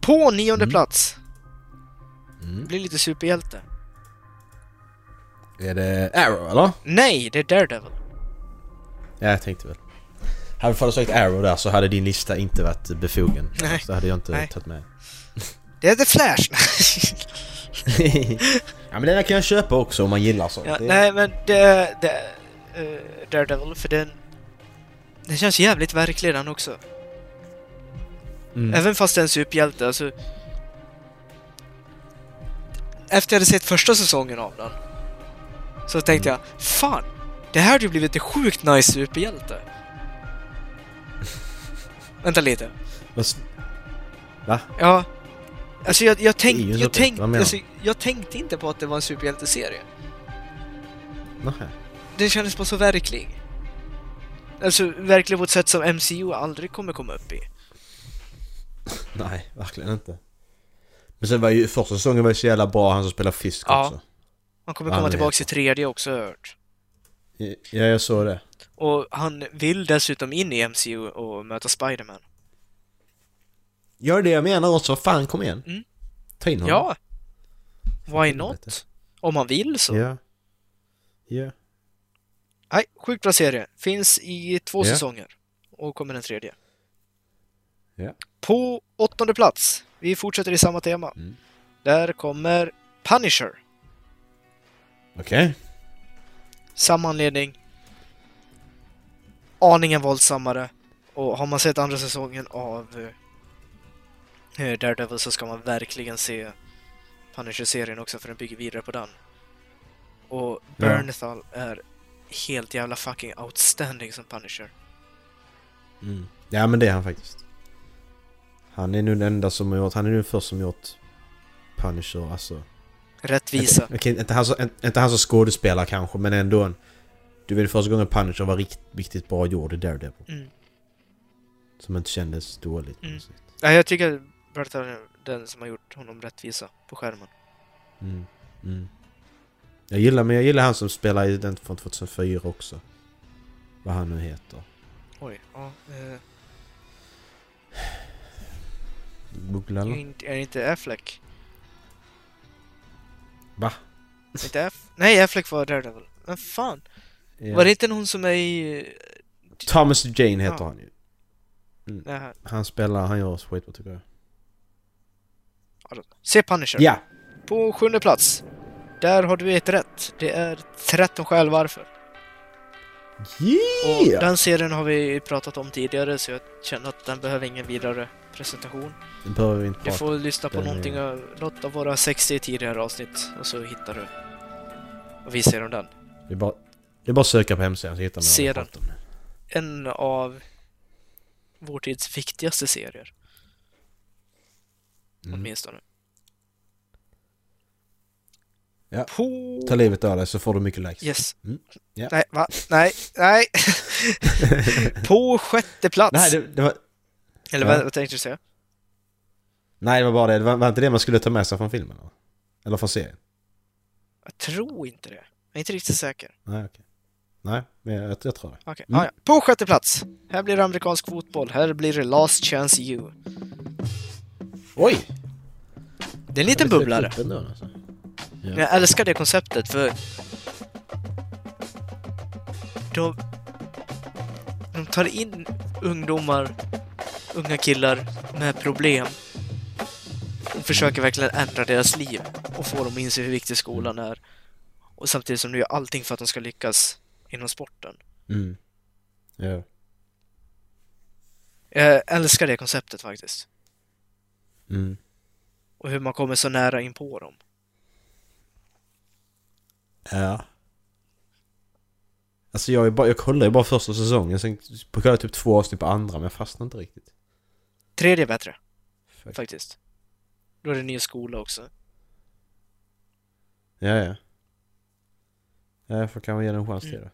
På nionde Mm. plats! Mm. Blir lite superhjälte. Är det Arrow eller? Nej, det är Daredevil. Ja, jag tänkte väl. Hade du sagt Arrow där så hade din lista inte varit befogen. Nej. Så hade jag inte Nej. tagit med. Det är The Flash! ja men den här kan jag köpa också om man gillar sånt. ja, Det- Nej, men det är det är, eh, Daredevil, för den... Den känns jävligt verklig den också. Mm. Även fast det är en superhjälte, alltså... Efter jag hade sett första säsongen av den så tänkte Mm. jag, fan! Det här hade ju blivit en sjukt nice superhjälte. Vänta lite. Men s- Va? Ja. Alltså jag, jag, Det är tänk, ju en jag, superhjälte, tänk, vad menar alltså, jag tänkte inte på att det var en superhjälteserie. Nähä. Den kändes bara så verklig. Alltså verklig på ett sätt som MCU aldrig kommer komma upp i. Nej, verkligen inte. Men sen var ju första säsongen var ju så jävla bra, han som spelar fisk Ja. också. Han kommer Ja, komma det tillbaka vet till tredje också har jag hört. I- Ja, jag såg det. Och han vill dessutom in i MCU och möta Spiderman. Gör det jag menar också, fan kom igen. Mm. Ta in honom. Ja! Why till not? helvete. Om man vill så. Ja. Ja. Nej, sjukt bra serie. Finns i två Ja. säsonger. Och kommer en tredje. Ja. På åttonde plats, vi fortsätter i samma tema. Mm. Där kommer Punisher. Okej. Samma anledning. Aningen våldsammare. Och har man sett andra säsongen av eh, Daredevil så ska man verkligen se Punisher-serien också för den bygger vidare på den. Och Ja. Bernthal är helt jävla fucking outstanding som Punisher. Mm. Ja men det är han faktiskt. Han är nu den enda som har gjort, han är nu den första som gjort Punisher alltså. Rättvisa. Okej, inte, han som, inte- inte han som skådespelare kanske men ändå en... Du vet första gången Punisher var rikt, riktigt bra gjord i Daredevil. Mm. Som inte kändes dåligt. på något Mm. sätt. Nej, jag tycker Bernthal är den som har gjort honom rättvisa på skärmen. Mm. Mm. Jag gillar, men jag gillar han som spelar i den från 2004 också. Vad han nu heter. Oj, ja. eh, Googla är eller? inte- är det inte Affleck? Va? Inte Aff- Nej, Affleck var Daredevil. Men fan. Ja. Var det inte någon som är i... Thomas Jane heter Ja. han ju. Det här? Han spelar, han gör skitbra tycker jag. Se Punisher. Ja! På sjunde plats. Där har du ett rätt. Det är 13 skäl varför. Och Yeah! den serien har vi pratat om tidigare så jag känner att den behöver ingen vidare presentation. Det behöver vi inte Du prata får lyssna på den är- någonting av, något av våra 60 tidigare avsnitt och så hittar du. Och vi ser om den. Det är bara, det är bara att söka på hemsidan så hittar man Se vad vi den. pratar om. En av vår tids viktigaste serier. Mm. Åtminstone. Ja. På... Ta livet av dig så får du mycket likes. Yes. Mm, ja. Nej, va? Nej, nej. på sjätte plats. Nej, det, det var, Eller Ja. vad, vad tänkte du säga? nej, det var bara det. Det var, var inte det man skulle ta med sig från filmen? Eller, eller från serien? Jag tror inte det. Jag är inte riktigt säker. Nej, okej. Nej, men jag, jag tror det. Okej, Mm. ah, ja. På sjätte plats. Här blir det amerikansk fotboll. Här blir det Last Chance You. Oj! Det är en liten bubblare. Alltså. Men Jag älskar det konceptet för... De... De tar in ungdomar, unga killar med problem de försöker verkligen ändra deras liv och få dem att inse hur viktig skolan är. Och samtidigt som de gör allting för att de ska lyckas inom sporten. Mm. Ja. Jag älskar det konceptet faktiskt. Mm. Och hur man kommer så nära in på dem. Ja. Alltså jag, är bara, jag kollade ju bara första säsongen, sen kollade jag typ två avsnitt på andra men jag fastnade inte riktigt. Tredje är bättre. Fuck. Faktiskt. Då är det ny skola också. Ja, ja. Ja, Jag får kanske ge den en chans till då. Mm.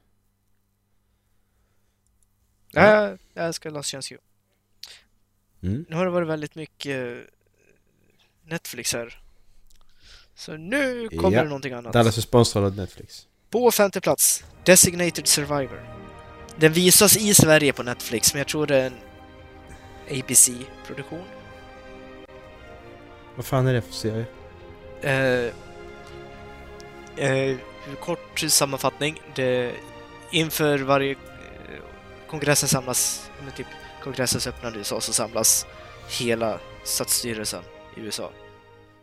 Ja. Ja. Jag älskar Last Chance U. Mm. Nu har det varit väldigt mycket eh, Netflix här. Så nu kommer Ja. det någonting annat. Dallas är sponsrad av Netflix. På femte plats, Designated Survivor. Den visas i Sverige på Netflix, men jag tror det är en ABC-produktion. Vad fan är det för serie? Eh, eh, kort sammanfattning. Det, inför varje eh, kongressen samlas, med typ kongressens öppnande i USA, så samlas hela statsstyrelsen i USA.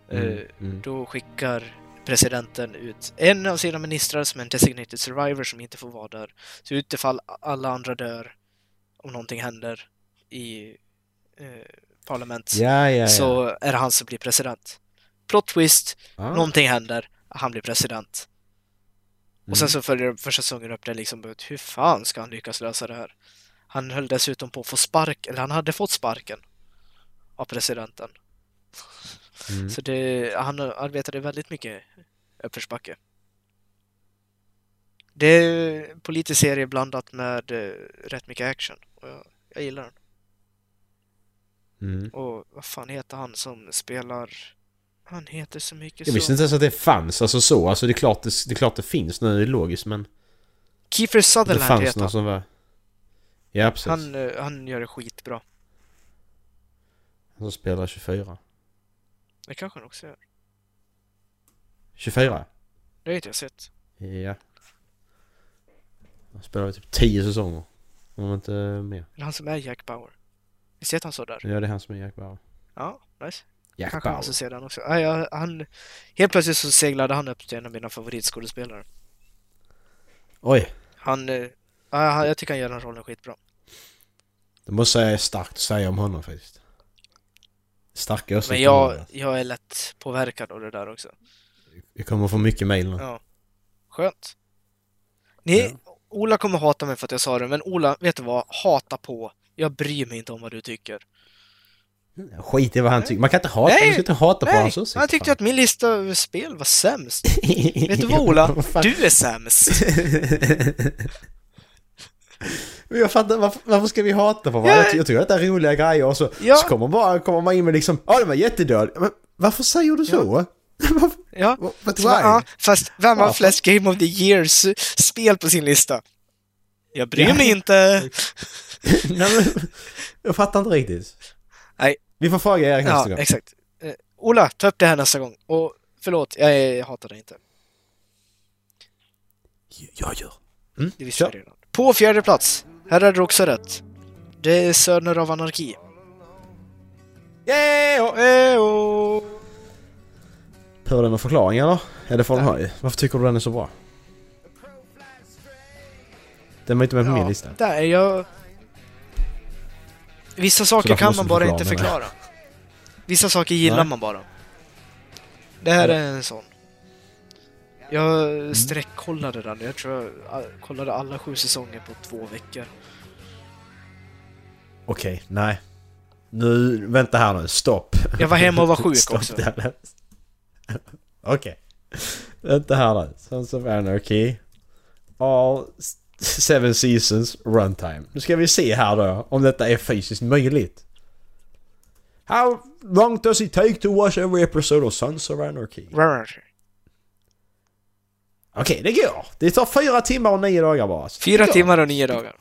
Eh, Mm. Mm. Då skickar presidenten ut en av sina ministrar som är en designated survivor som inte får vara där. Så utifall alla andra dör, om någonting händer i eh, parlament, Ja, ja, ja. så är det han som blir president. Plot twist, ah. någonting händer, han blir president. Och sen Mm. så följer första säsongen upp det liksom, ut, hur fan ska han lyckas lösa det här? Han höll dessutom på att få spark, eller han hade fått sparken av presidenten. Mm. Så det, han arbetade väldigt mycket uppförsbacke. Det är en politisk serie blandat med eh, rätt mycket action. Och jag, jag gillar den. Mm. Och vad fan heter han som spelar... Han heter så mycket Jag visste så. inte ens att det fanns, alltså så. Alltså det är klart det, det, är klart det finns nu, det är logiskt men... Kiefer Det Sutherland fanns heter någon han. som var... Ja, precis. Han Han, eh, han gör det skitbra. som spelar 24. Det kanske han också gör. 24? Det har inte jag sett. Ja. Han spelar typ 10 säsonger. Om inte mer. Eller han som är Jack Bauer. Visst heter han så där? Ja, det är han som är Jack Bauer. Ja, nice. Jack Kanske man måste Bauer. se den också. Ja, ja, han, helt plötsligt så seglade han upp till en av mina favoritskådespelare. Oj! Han, eh, ja, han, jag tycker han gör den rollen skitbra. Alltså, Det måste jag säga är starkt att säga om honom faktiskt. Starka åsikter. Men om jag, honom. jag är lätt påverkad av det där också. Jag kommer få mycket mail nu. Ja. Skönt. Ni, Ola kommer hata mig för att jag sa det, men Ola, vet du vad? Hata på. Jag bryr mig inte om vad du tycker. Skit i vad han tycker. Man kan inte hata, Nej. man ska inte hata på Nej, hans åsikter. han tyckte att min lista över spel var sämst. Vet du vad Ja, Ola? vad fan. Du är sämst! Men jag fattar, varför, varför ska vi hata på varandra? Jag ty- Jag tycker att det är roliga grejer och så, Ja. så kommer, bara, kommer man in med liksom Ja den var jättedålig. Men varför säger du så? Varför- Ja. What- what- Så, why? ja, fast vem har Varför? flest Game of the Years-spel på sin lista? Jag bryr mig inte! Nej, men, jag fattar inte riktigt. Nej. Vi får fråga Erik nästa Ja, gång. exakt. Eh, Ola, ta upp det här nästa gång. Och förlåt, jag, jag hatar dig inte. Jag gör. Det visste Kör. jag redan. På fjärde plats. Här hade du också rätt. Det är Söner av Anarki. Yeah, yeah, oh. Behöver den någon förklaring eller? Är det får den ha ju. Varför tycker du den är så bra? Den var inte med på min lista. där, jag... Vissa saker därför kan måste man du bara förklara inte mig. förklara. Vissa saker gillar Nej. man bara. Det här är en sån. Mm. Jag sträckkollade den. Jag tror jag all- kollade alla sju säsonger på två veckor. Okej, nej. Nu, vänta här nu, stopp. Jag var hemma och var sjuk Stopp också. Dallas. Okej. Vänta här nu. Sons of Anarchy. All s- seven seasons runtime. Nu ska vi se här då om detta är fysiskt möjligt. How long does it take to watch every episode of Sons of Anarchy? Rar. Okej, det går. Det tar fyra timmar och nio dagar bara. Så Fyra det går. timmar och nio dagar.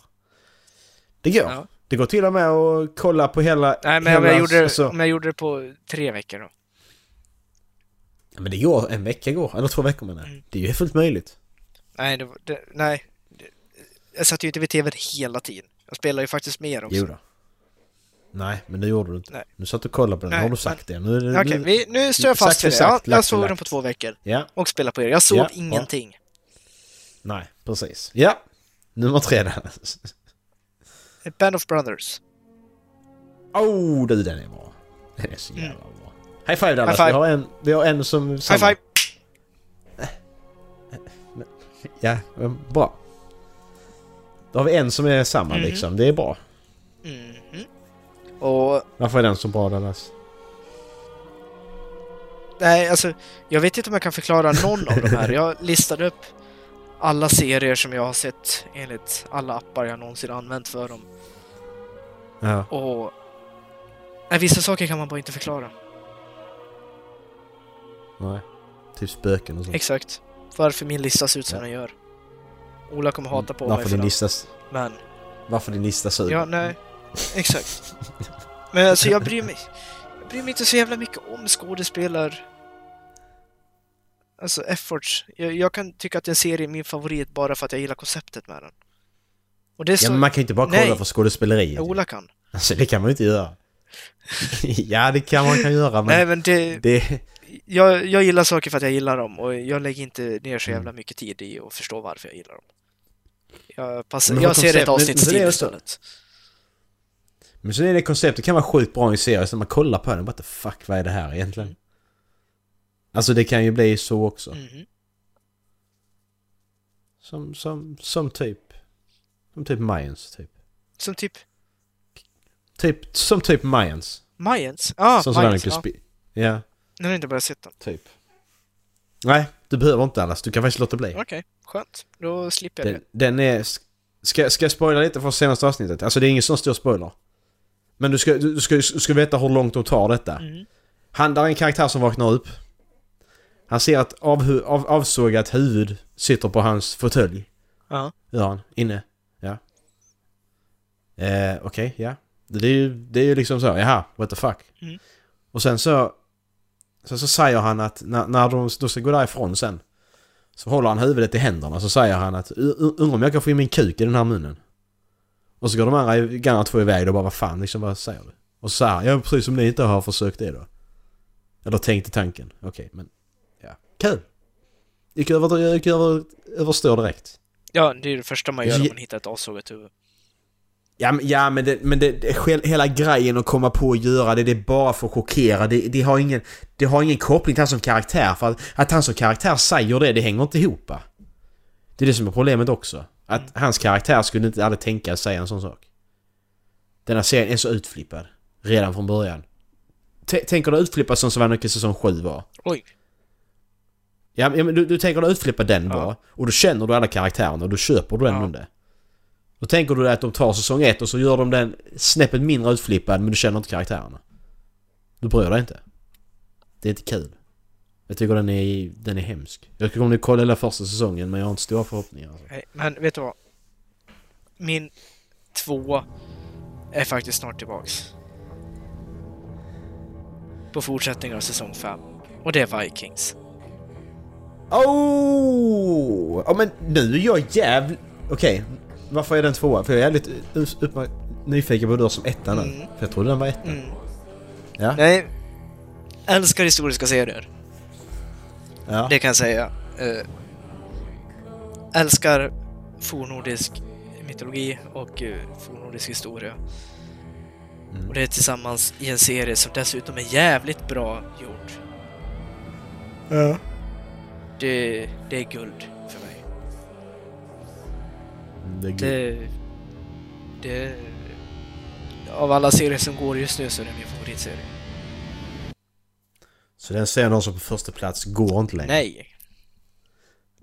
Det går. Ja. Det går till och med att kolla på hela... Nej, men om hela jag, gjorde, alltså- om jag gjorde det på tre veckor då. Ja, men det går, en vecka går, eller två veckor menar jag. Mm. Det är ju fullt möjligt. Nej, det, var- det, nej. Det, jag satt ju inte vid tvn hela tiden. Jag spelar ju faktiskt mer också. Jo då. Nej, men det gjorde du inte. Nej. Nu satt du och kollade på den. Nej, har du sagt det? Nu, är det- Okej, nu, vi- nu står jag sagt fast vid det. för Ja, sagt, lagt jag för såg lagt. den på två veckor. Ja, Och spelade på er. Jag sov Ja, ja. ingenting. nej, precis. Ja, nummer tre där. Band of Brothers. Oh, du den är bra. Den är så jävla bra. High five Dallas. Mm. High five. Vi, har en, vi har en som... High five! Ja, men bra. Då har vi en som är samma Mm. liksom. Det är bra. Mhm. Och Varför är den så bra Dallas? Nej, alltså jag vet inte om jag kan förklara någon av de här. Jag listade upp alla serier som jag har sett enligt alla appar jag någonsin använt för dem. Ja. Och nej, vissa saker kan man bara inte förklara. Nej. Typ spöken och sånt. Exakt. Varför min lista ser ut som den gör. Ola kommer hata på mig Mm. Varför för din den, listas... men... Varför din lista suger. Ja, nej. Exakt. Men alltså jag bryr mig... Jag bryr mig inte så jävla mycket om skådespelar... Alltså efforts. Jag, jag kan tycka att en serie är min favorit bara för att jag gillar konceptet med den. Och det Ja, står... men man kan ju inte bara kolla Nej. på skådespeleriet. Ja, Ola kan. Alltså det kan man ju inte göra. ja, det kan man kan göra men... Nej men det... Det... Jag, jag gillar saker för att jag gillar dem och jag lägger inte ner så Mm. jävla mycket tid i att förstå varför jag gillar dem. Jag, passar, Men jag vad ser ett koncept- avsnitt men- men det är still just det. istället. Men sen är det konceptet kan vara sjukt bra i en serie, så när man kollar på den och bara "The fuck vad är det här egentligen? Mm. Alltså det kan ju bli så också. Mhm. Som, som, som typ... Som typ Mayans typ. Som typ... Typ, som typ Mayans. Mayans? Ah, som Mayans, ja. Solanicus Bi- Ja, Nu har jag inte börjat se den. typ. Nej, du behöver inte alls. Du kan faktiskt låta bli. Okej, skönt. Då slipper jag det. Den, den är... Ska, ska jag spoila lite från senaste avsnittet? Alltså det är ingen sån stor spoiler. Men du ska, du, ska, du ska veta hur långt de tar detta. Han, där är en karaktär som vaknar upp. Han ser att avhu, av, avsågat huvud sitter på hans fåtölj. Ja. Gör han. Inne. Ja. Eh, Okej, ja. Det är ju det är ju liksom så. Jaha, what the fuck. Mm. Och sen så... Sen så säger han att när, när de, de ska gå därifrån sen. Så håller han huvudet i händerna så säger han att "U- u- undrar om jag kan få in min kuk i den här munnen. Och så går de andra i- grannar två iväg och bara vad fan liksom vad säger du? Och så säger han ja precis som ni inte har försökt det då. Eller tänkte tanken. Okej men ja. Kul! Gick över, gick över, överstår direkt. Ja, det är det första man gör om Ge- man hittar ett avsågat huvud. Ja, men, ja, men, det, men det, det, själ- hela grejen att komma på att göra det, det är bara för att chockera. Det, det, har, ingen, det har ingen koppling till han som karaktär. För att, att han som karaktär säger det, det hänger inte ihop. va? Det är det som är problemet också. Att hans karaktär skulle inte aldrig tänka säga en sån sak. Den här serien är så utflippad. Redan från början. T- tänker du utflippad som Svanukes säsong 7 var? Oj. Ja, men ja, men du, du tänker dig utflippa den bara. Och då känner du alla karaktärerna och då köper du ändå Ja. det. Då tänker du att de tar säsong ett och så gör de den snäppet mindre utflippad men du känner inte karaktärerna. Du bryr dig inte. Det är inte kul. Jag tycker den är, den är hemsk. Jag kommer nu kolla hela första säsongen men jag har inte stora förhoppningar. Alltså. Nej, men vet du vad? Min tvåa är faktiskt snart tillbaks. På fortsättningen av säsong 5. Och det är Vikings. Oh! Ja men nu är jag jävligt... Okej, varför är den tvåa? För jag är jävligt us- uppma- nyfiken på hur du har som etta nu. För jag trodde den var etta. Ja, Nej. Älskar historiska serier. ja. Det kan jag säga. Eh, älskar fornnordisk mytologi och eh, fornnordisk historia. Och det är tillsammans i en serie som dessutom är jävligt bra gjord. Det, det är guld för mig. Det är gud. Det, det... Av alla serier som går just nu så är det min favoritserie. Så den ser någon som på första plats går inte längre? Nej!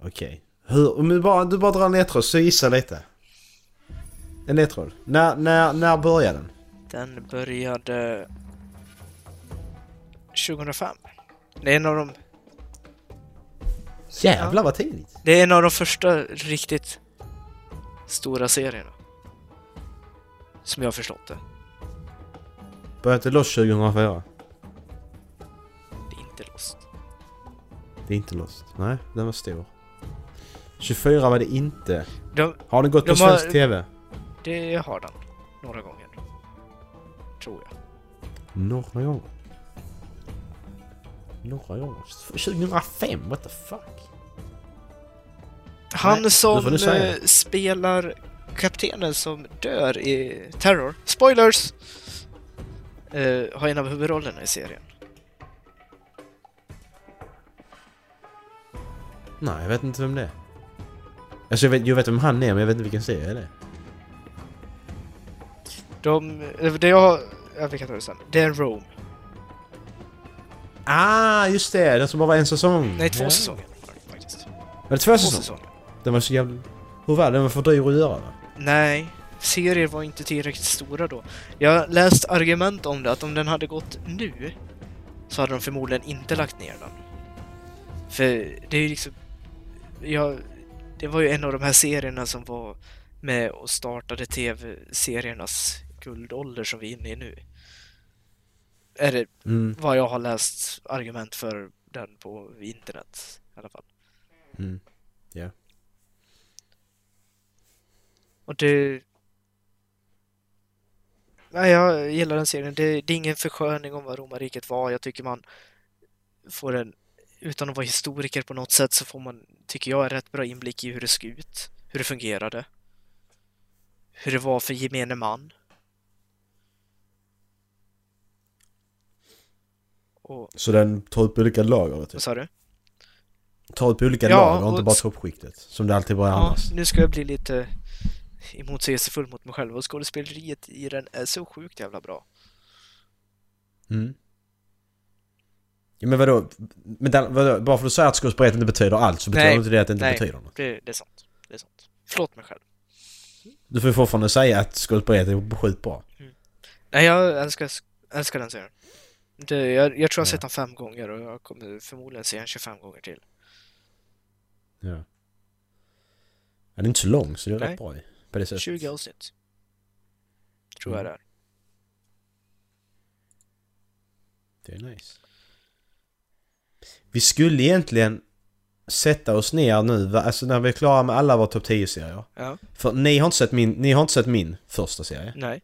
Okej. Hur, om du bara, du bara drar en ledtråd så gissa lite. En ledtråd. När, när, när börjar den? Den började... 2005. Det är en av de Jävlar vad tidigt. Det är en av de första riktigt stora serierna. Som jag har förstått det. Började inte Lost 2004? Det är inte Lost. Det är inte Lost. Nej, den var stor. 24 var det inte. De, Har den gått De på har- svensk TV? det har den. Några gånger. tror jag. Några gånger. Några gånger. 2005, what the fuck? Han Nej, nu får som du säga eh, spelar kaptenen som dör i Terror, spoilers! Eh, har en av huvudrollerna i serien. Nej, jag vet inte vem det är. Alltså jag vet, jag vet vem han är men jag vet inte vilken serie det är. De, eh, det jag, ja, vi kan ta det sen. Det är Rome. Ah, just det! Den som bara var en säsong. Nej, två ja. säsonger var det faktiskt. Två Var det två säsonger? säsonger. Den var så jävla... Hur var den? Den var för dyr att göra va? Nej, serier var inte tillräckligt stora då. Jag har läst argument om det, att om den hade gått nu så hade de förmodligen inte lagt ner den. För det är ju liksom... Ja, det var ju en av de här serierna som var med och startade tv-seriernas guldålder som vi är inne i nu. Är det Mm. vad jag har läst argument för den på internet i alla fall. Mm. Ja. Och det... Nej, jag gillar den serien. Det, det är ingen försköning om vad romarriket var. Jag tycker man får en... Utan att vara historiker på något sätt så får man, tycker jag, en rätt bra inblick i hur det såg ut. Hur det fungerade. Hur det var för gemene man. Och... Så den tar upp olika lager? Typ. Vad sa du? Tar upp olika Ja, lager och inte och- bara toppskiktet? Som det alltid var Ja, annars? nu ska jag bli lite emotsägelsefull mot mig själv. Och skådespeleriet i den är så sjukt jävla bra. Mm. Ja, men vadå? Men den, vadå? Bara för att du säger att skådespeleriet inte betyder allt så betyder Nej. inte det att det inte Nej. betyder något. Det, det är sant. Det är sant. Förlåt mig själv. Du får ju fortfarande säga att skådespeleriet är sjukt bra. Mm. Nej, jag älskar, älskar den serien. Det, jag, jag tror jag har sett den fem gånger och jag kommer förmodligen se den 25 gånger till. Ja. ja. Den är inte så lång så det är Mm. Nej. rätt bra ju, på det sättet. 20 avsnitt. Tror jag det är. Det är nice. Vi skulle egentligen sätta oss ner nu, va? alltså när vi är klara med alla våra topp 10-serier. Ja. För ni har, inte sett min, ni har inte sett min första serie. Nej.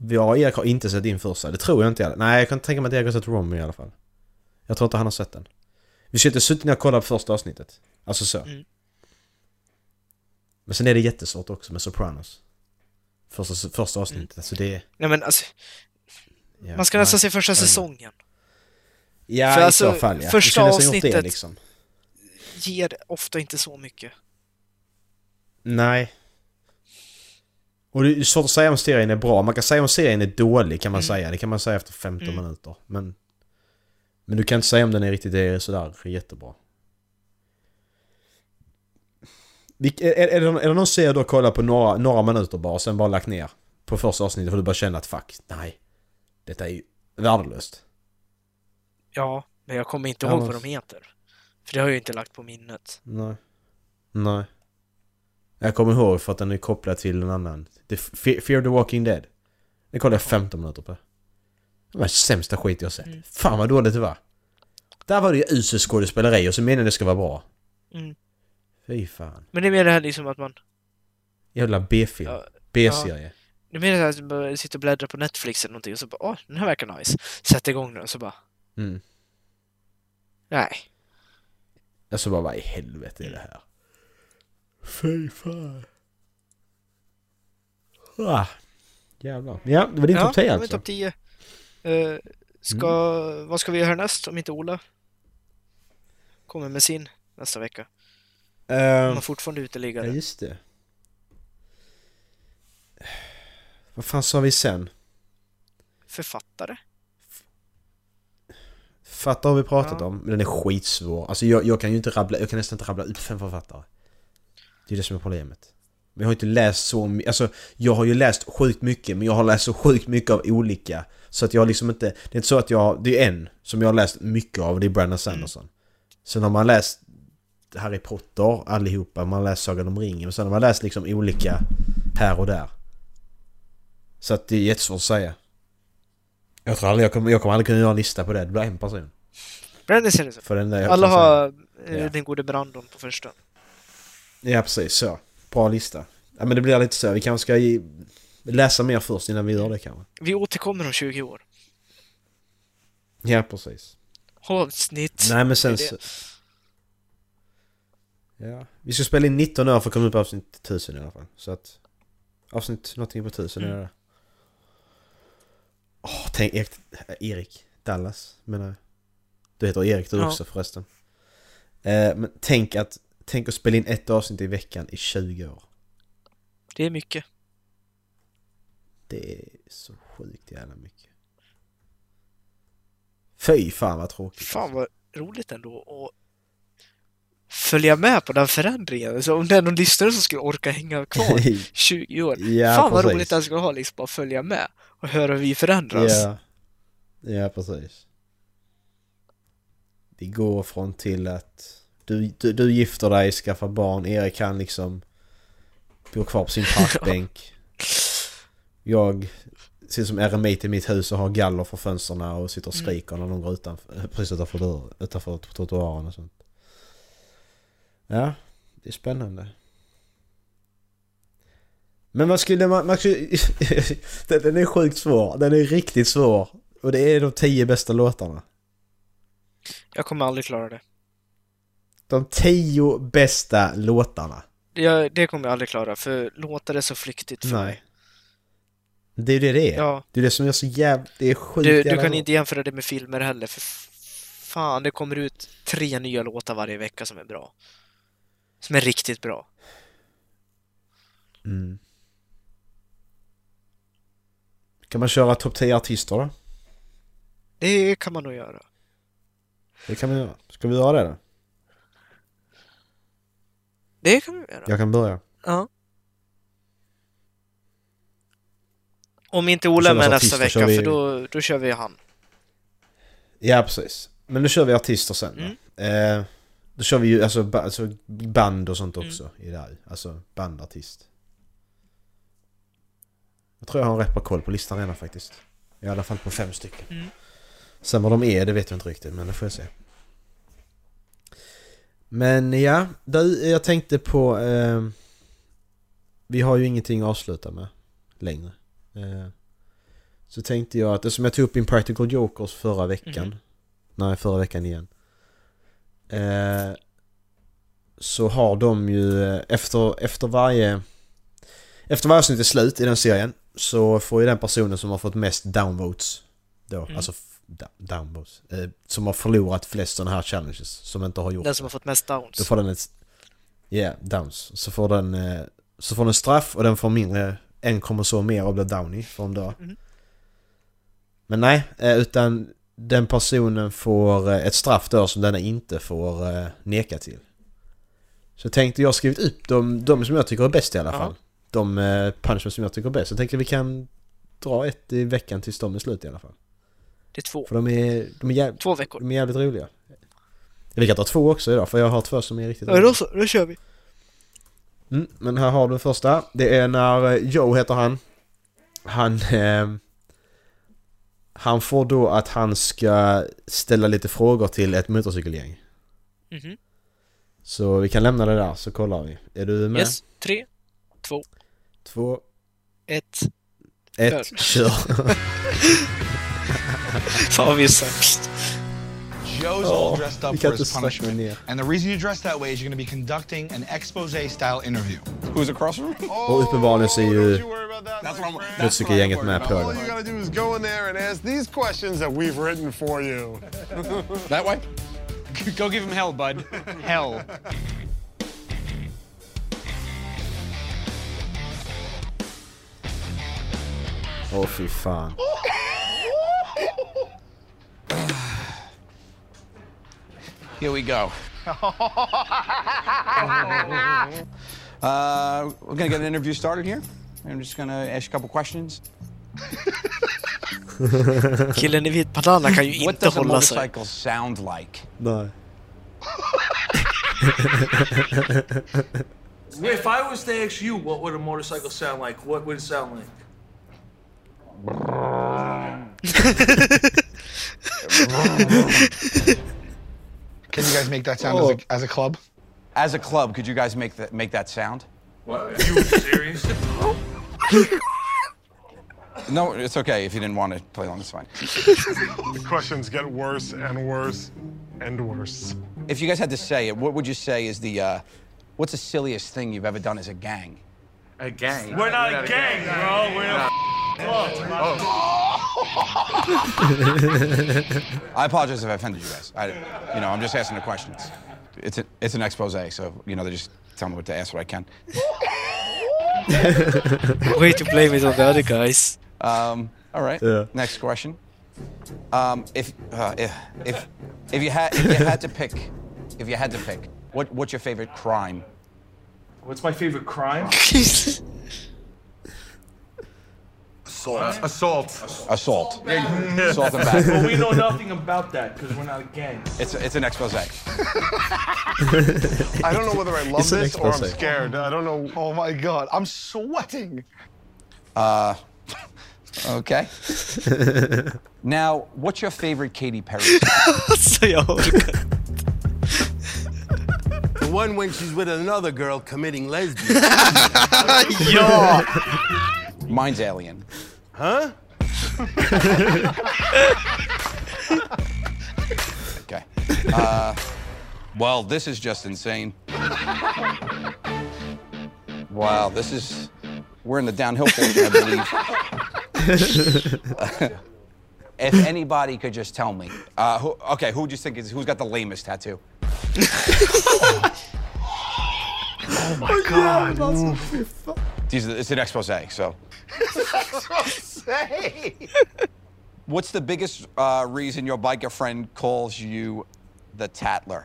Jag och Erik har inte sett din första, det tror jag inte. i alla- Nej, jag kan tänka mig att Erik har sett Romy i alla fall. Jag tror inte han har sett den. Vi skulle inte suttit ner och kollat på första avsnittet. Alltså så. Mm. Men sen är det jättesvårt också med Sopranos. Första, första avsnittet, alltså det... är- Nej men alltså, Ja, man ska nej. nästan se första nej. säsongen. Ja, för i alltså, så fall ja. Vi första skulle nästan gjort avsnittet- liksom. Ger ofta inte så mycket. Nej. Och det är svårt att säga om serien är bra. Man kan säga om serien är dålig kan man säga. Det kan man säga efter 15 Mm. minuter. Men, men du kan inte säga om den är riktigt är sådär jättebra. Vilk- Är, är, är, det, är det någon serie du har kollat på några, några minuter bara och sen bara lagt ner? På första avsnittet för du bara känner att fuck, nej. Detta är ju värdelöst. Ja, men jag kommer inte Ja, ihåg men- vad de heter. För det har jag ju inte lagt på minnet. Nej. Nej. Jag kommer ihåg för att den är kopplad till en annan. The Fe- Fear the Walking Dead. Det kollade jag 15 minuter på. Det var den sämsta skit jag sett. Mm. Fan vad dåligt det var. Där var det ju usel skådespeleri och så menar jag det ska vara bra. Mm. Fy fan. Men det är mer det här liksom att man... Jävla B-film. Ja, B-serie. det är mer det här att man sitter och bläddrar på Netflix eller någonting och så bara åh, den här verkar nice. Sätter igång den och så bara Mm. nej. Jag så bara vad i helvete är det här? Fy fan. Ah. Jävlar. Ja, det var din topp 10 det var alltså? Mm. topp 10. Eh, ska, Vad ska vi göra näst om inte Ola kommer med sin nästa vecka? Ehm, Han har fortfarande uteliggare. Ja, just det. Vad fan sa vi sen? Författare? Författare har vi pratat Ja. om, men den är skitsvår. Alltså jag, jag kan ju inte rabbla, jag kan nästan inte rabbla ut fem författare. Det är det som är problemet. Men jag har inte läst så mycket, alltså jag har ju läst sjukt mycket, men jag har läst så sjukt mycket av olika. Så att jag har liksom inte, det är inte så att jag, det är en som jag har läst mycket av, och det är Brandon Sanderson. Sen har man läst Harry Potter allihopa, man har läst Sagan om ringen, och sen har man läst liksom olika här och där. Så att det är jättesvårt att säga. Jag tror aldrig, jag kommer, jag kommer aldrig kunna göra en lista på det, det blir en person. Brandon ser det så. För den där jag Alla kan säga. har eh, Ja. den gode Brandon på första. Ja precis så. Bra lista. Ja men det blir lite så. Vi kanske ska ge... läsa mer först innan vi gör det kanske. Vi återkommer om 20 år. Ja, precis. Avsnitt. Nej men sen Det är så... Ja. Vi ska spela in 19 år för att komma upp på avsnitt 1000 i alla fall. Så att... Avsnitt någonting på 1000 Mm. är det. Åh, tänk Erik, Erik Dallas menar jag. Du heter Erik du Ja. också förresten. Eh, men tänk att... Tänk att spela in ett avsnitt i veckan i 20 år. Det är mycket. Det är så sjukt jävla mycket. Fy fan vad tråkigt. Fan vad roligt ändå att följa med på den förändringen. Så om det är någon lyssnare som skulle orka hänga kvar 20 år. Ja, Fan vad precis. roligt det skulle vara liksom bara följa med och höra hur vi förändras. Ja. ja, precis. Vi går från till att du, du, du gifter dig, skaffar barn, Erik han liksom bor kvar på sin parkbänk. Jag sitter som eremit i mitt hus och har galler för fönstren och sitter och skriker när någon går utanför, eh, precis utanför, dörr, utanför trottoaren och sånt. Ja, det är spännande. Men vad skulle man... man skulle, den, den är sjukt svår. Den är riktigt svår. Och det är de tio bästa låtarna. Jag kommer aldrig klara det. De tio bästa låtarna. Jag, det kommer jag aldrig klara för låtar är så flyktigt för mig. Nej. Det är ju det det är. Ja. Det är det som är så jävla... Det är sjukt Du, du jävla kan bra. inte jämföra det med filmer heller för f- fan, det kommer ut tre nya låtar varje vecka som är bra. Som är riktigt bra. Mm. Kan man köra topp 10 artister då? Det kan man nog göra. Det kan vi göra. Ska vi göra det då? Det kan man göra. Jag kan börja. Ja. Om inte Ola är Då kör med vi nästa artister, vecka kör vi- för då, då kör vi han. Ja, precis. Men då kör vi artister sen då. Eh, då kör vi ju alltså, ba- alltså band och sånt också i det här. Alltså bandartist. Jag tror jag har en rätt bra koll på listan redan faktiskt. I alla fall på fem stycken. Sen vad de är, det vet jag inte riktigt, men det får jag se. Men ja, där, jag tänkte på... Eh, vi har ju ingenting att avsluta med längre. Eh, så tänkte jag att, som jag tog upp Impractical Jokers förra veckan. Nej, förra veckan igen. Eh, så har de ju eh, efter, efter varje... Efter varje avsnitt är slut i den serien så får ju den personen som har fått mest downvotes då, alltså f- da- downvotes, eh, som har förlorat flest sådana här challenges som inte har gjort Den som har fått mest då downs. får den ett... Ja, downs. Så får den, eh, så får den straff och den får mindre, en kommer så mer och blir downy för en dag. Mhm. Men nej, eh, utan den personen får eh, ett straff då som den inte får eh, neka till. Så tänkte jag skrivit upp de, de som jag tycker är bäst i alla Ja. fall. De eh, punishments som jag tycker är bäst. Jag tänker vi kan dra ett i veckan tills de är slut i alla fall. Det är två. För de är, de är, jäv, Två veckor. de är jävligt roliga. Vi kan ta två också idag för jag har två som är riktigt Ja, då så, då kör vi. Mm, men här har du den första. Det är när eh, Joe heter han. Han... Eh, han får då att han ska ställa lite frågor till ett motorcykelgäng. Mhm. Så vi kan lämna det där så kollar vi. Är du med? Yes, tre, två, Två, ett. ett, kör! Fan vad vi är sämst. Joe's all Ja, dressed vi up kan for inte his snacka med punishment. ner. And the reason you dress that way is you're going to be conducting an expose style interview. Who's across the room? Och uppenbarligen så är ju That's what I'm. That's what I'm Motorcykelgänget med på All you det. gotta do is go in there and ask these questions that we've written for you. That way. Go give him hell, bud. Hell. Åh fy fan. Here we go. uh, we're gonna get an interview started here. I'm just gonna ask you a couple questions. Killen i vit bandana kan ju What inte does a hålla sig. motorcycle sound like? Nej. If I was to ask you what would a motorcycle sound like, what would it sound like? Can you guys make that sound as, Oh. a, as a club? As a club, could you guys make that make that sound? What? You were serious? No, it's okay if you didn't want to play along. It's fine. The questions get worse and worse and worse. If you guys had to say it, what would you say is the, uh, what's the silliest thing you've ever done as a gang? A gang. We're not a gang, bro. We're a club. I apologize if I offended you guys. I, you know, I'm just asking the questions. It's a, it's an expose, so you know they just tell me what to ask, what I can. Way to blame it on the other guys. Um, all right. Yeah. Next question. Um, if, uh, if if if you had if you had to pick, if you had to pick, what what's your favorite crime? What's my favorite crime? Assault. Assault. Assault. Assault and battery. But we know nothing about that because we're not a gang. It's it's an expose. I don't know whether I love It's an this or I'm expose. scared. I don't know. Oh my god, I'm sweating. Okay. now, what's your favorite Katy Perry? song? Så jag orkar. The one when she's with another girl committing lesbian. Ja! Mine's Alien. huh? Okay. Uh, well, this is just insane. Wow, this is. We're in the downhill portion, I believe. if anybody could just tell me. Uh, who, okay, who do you think is. Who's got the lamest tattoo? These are, it's an expose, so. What's the biggest uh, reason your biker friend calls you the Tatler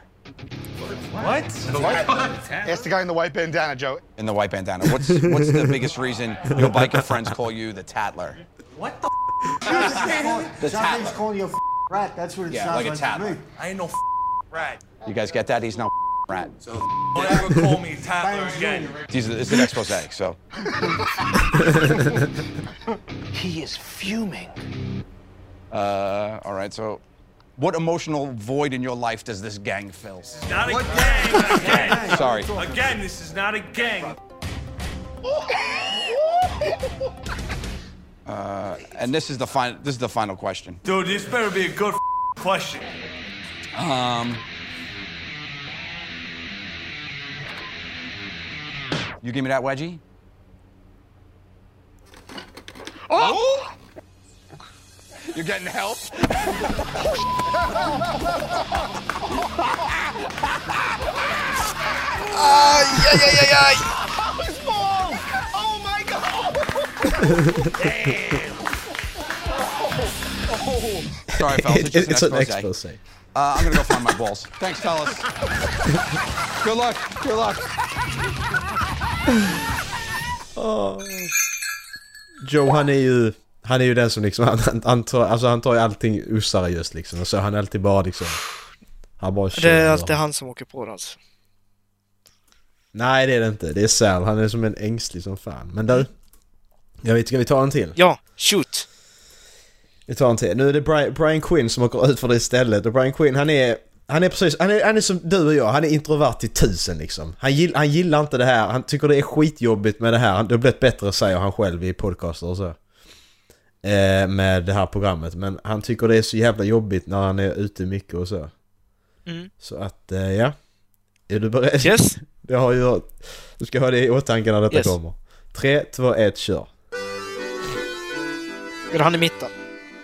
Ask the guy in the white bandana, Joe. in the white bandana? What's what's the biggest reason your biker friends call you the Tatler? What the? the Tatler. calling you a f- rat. That's what it Yeah, sounds like a to Tatler. me. I ain't no f- rat. You guys get that? He's no rat. Don't ever call me Tyler again. These are, it's an expose, so. He is fuming. Uh, all right, so. What emotional void in your life does this gang fill? Not a gang. not a gang. Sorry. Again, this is not a gang. And this is the final this is the final question. Dude, this better be a good f- question. Um, you give me that wedgie? Oh! You're getting help? Sorry, fellas. It's, It, just it's an expose. expose. Uh, I'm gonna go find my balls. Thanks, fellas. good luck. Good luck. Joe han är ju... Han är ju den som liksom, han, han, han, tar, alltså, han tar ju allting oseriöst liksom. Och så han är alltid bara liksom... Han bara Det är chillar. alltid han som åker på det alltså. Nej det är det inte. Det är Sal. Han är som en ängslig som fan. Men du. Jag vet, ska vi ta en till? Ja, shoot! Vi tar en till. Nu är det Brian, Brian Quinn som åker ut för det istället. Och Brian Quinn han är... Han är precis, han är, han är som du och jag, han är introvert till tusen liksom. Han, gill, han gillar inte det här, han tycker det är skitjobbigt med det här. Han, det har blivit bättre säger han själv i podcaster och så. Eh, med det här programmet. Men han tycker det är så jävla jobbigt när han är ute mycket och så. Mm. Så att, eh, ja. Är du beredd? Yes! Det har ju... Du ska ha det i åtanke när detta Yes. kommer. 3, 2, 1, kör. Är han i mitten?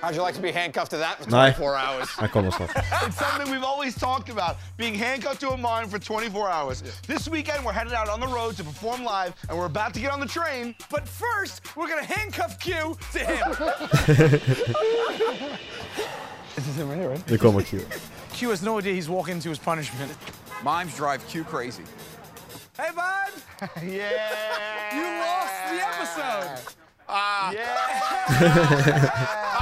How'd you like to be handcuffed to that for Nej. 24 hours? Han kommer snart. It's something we've always talked about, being handcuffed to a mine for 24 hours. This weekend, we're headed out on the road to perform live, and we're about to get on the train. But first, we're gonna handcuff Q to him. Det kommer kul. Q has no idea he's walking to his punishment. Mimes drive Q crazy. Hey, bud. yeah. You lost the episode. Ah. Yeah.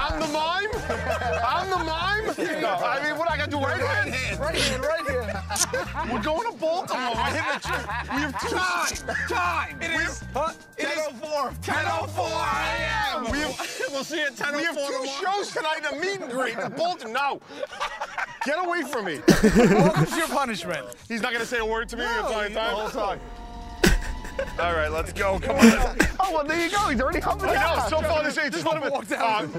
I'm the mime? I'm the mime? I mean, what I gotta do? Right hand. Right hand, right hand. We're going to Baltimore. I have a trip. We have two Time! Time! It is. It is 10.04. 10.04 I We have, we'll see you at 10 We have two shows tonight, a meet and greet in Bolton. No. Get away from me. What was your punishment? He's not going to say a word to me the entire time. All right, let's go. Come on. Oh, well, there you go. He's already humping I it know. out. So far this ain't Just let him walk down.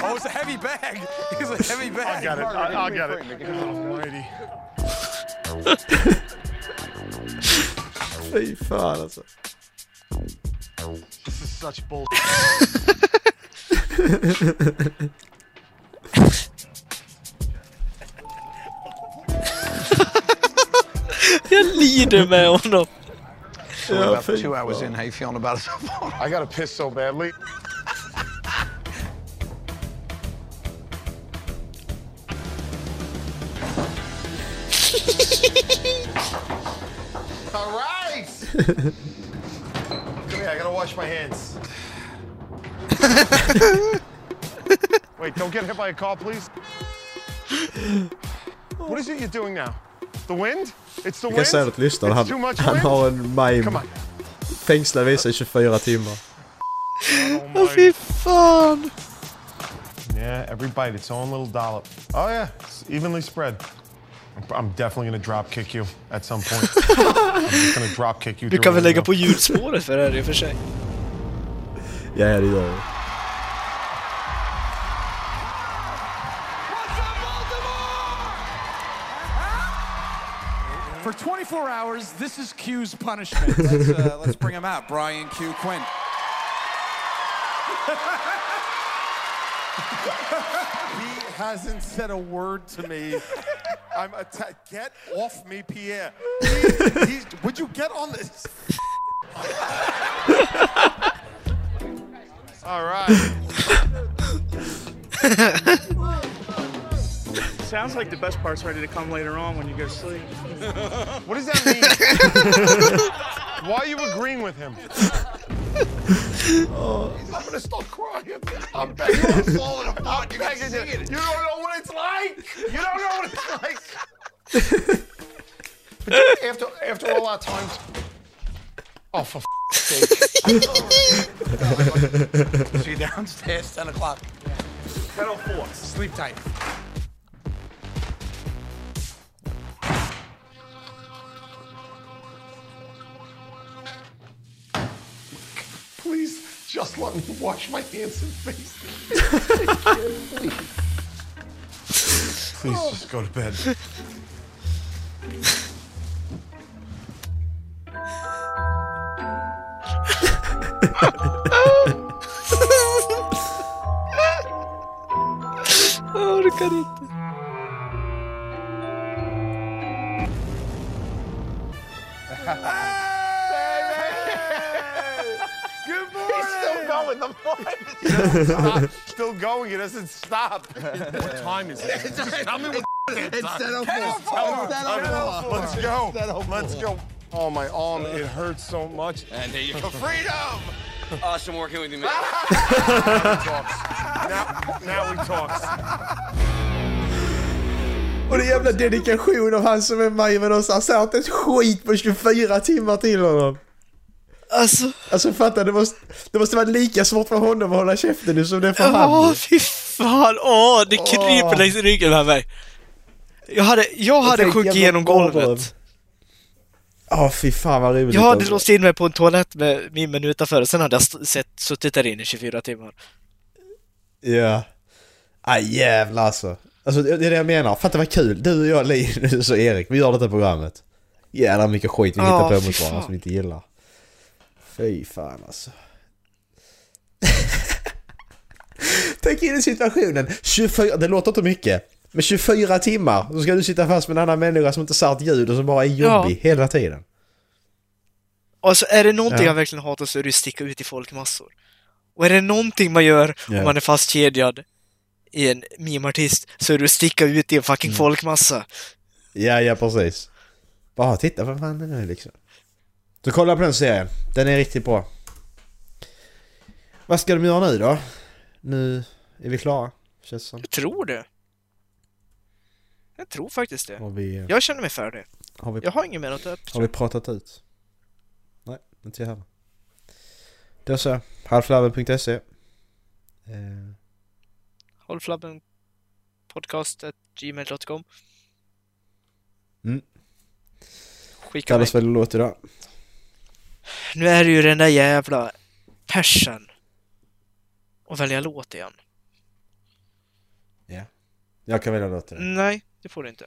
Oh, it's a heavy bag. It's a heavy bag. I'll get it. I'll, I'll get it. Alrighty. Fy fan alltså. This is such bull. Jag lider med honom. So we're about two hours in, how you feeling about it so far? I gotta piss so badly. All right. Come here. I gotta wash my hands. Wait, don't get hit by a car, please. What is it you're doing now? The wind? It's the Vi kan wind. säga att lyssnaren, It's han, too much han wind? har en mime Come on. fängslad vid sig i 24 timmar. Oh Åh my fy fan! Yeah, every bite, its own little dollop. Oh yeah, it's evenly spread. I'm- I'm definitely gonna drop kick you at some point. I'm just gonna drop kick you. Du through kan a väl lägga på window. ljudspåret för det här i och för sig. Ja, ja det gör vi. For 24 hours, this is Q's punishment. Let's, uh, let's bring him out. Brian Q. Quinn. He hasn't said a word to me. I'm atta- get off me, Pierre. He- he's- would you get on this? All right. Sounds like the best part's ready to come later on when you go to sleep. What does that mean? Why are you agreeing with him? I'm gonna stop crying. I'm begging you, I'm falling apart. You guys see it. You don't know what it's like. You don't know what it's like. But after after all our time. Oh, for f- sake. See you downstairs, 10 o'clock. 10.04. Sleep tight. Please, just let me wash my hands and face. Please just go to bed. Jag orkar inte. Good morning. He's still going. The morning. stop. Still going. It doesn't stop. what time is it? Just tell me what It's time. 10:04. Oh, Tell me It's what time it is. 10:04. Let's go. Let's go. Oh, my arm. It hurts so much. And there you go. Freedom! Awesome working with you, man. now, now we talk. Och det är jävla dedikation av han som är mimen också. Han sa inte ett skit på 24 timmar till honom. Alltså. Alltså fatta, det måste, det måste vara lika svårt för honom att hålla käften nu som det är för Åh honom. fy fan! Åh, det kryper Åh. längs ryggen här mig. Jag hade, jag hade tänkte sjunkit jävla genom golvet. Ja, fy fan vad roligt. Jag hade alltså. låst in mig på en toalett med mimmen utanför och sen hade jag st- sett, suttit där inne i 24 timmar. Ja. Ah, jävlar alltså. Alltså det det är det jag menar. Fatta vad kul. Du och jag, Linus och Erik, vi gör detta programmet. Jävlar mycket skit vi Ja, hittar på fy mot fan. varandra som vi inte gillar. Fy fan alltså. Tänk in i situationen. 24, det låter inte mycket. Men 24 timmar så ska du sitta fast med en annan människa som inte sa ett ljud och som bara är jobbig hela tiden. Alltså är det någonting Ja. jag verkligen hatar så är det att sticka ut i folkmassor. Och är det någonting man gör Ja. om man är fastkedjad i en mimartist så är det att sticka ut i en fucking Mm. folkmassa. Ja, ja precis. Bara titta vad fan den är liksom. Så kolla på den serien. Den är riktigt bra. Vad ska de göra nu då? Nu är vi klara. Känns det som. Jag tror det. Jag tror faktiskt det. Har vi, eh, Jag känner mig färdig. har vi, Jag har inget mer att ta upp. har vi pratat ut? Nej, inte jag heller. Då så. Halflabben.se eh, Hållflabben podcast at gmail.com mm. Skicka mig. Kallas väl låt idag. Nu är det ju den där jävla persen. Och välja låt igen. Jag kan välja låt till det. Nej, det får du inte.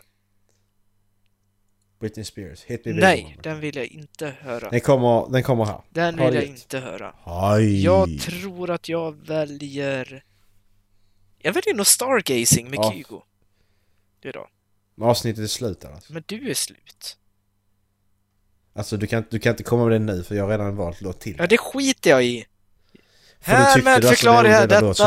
Britney Spears, Hit Me Baby Nej, One. den vill jag inte höra. Den kommer, den kommer här. Den Har vill jag det. inte höra. Aj. Jag tror att jag väljer... Jag väljer nog Stargazing med Ja. Kygo. Du då? Men Avsnittet är slut annars. Men du är slut. Alltså du kan, du kan inte komma med den nu för jag har redan valt låt till. Ja, det skiter jag i. För du tyckte Härmed det var så förklarar jag jävla detta... låt som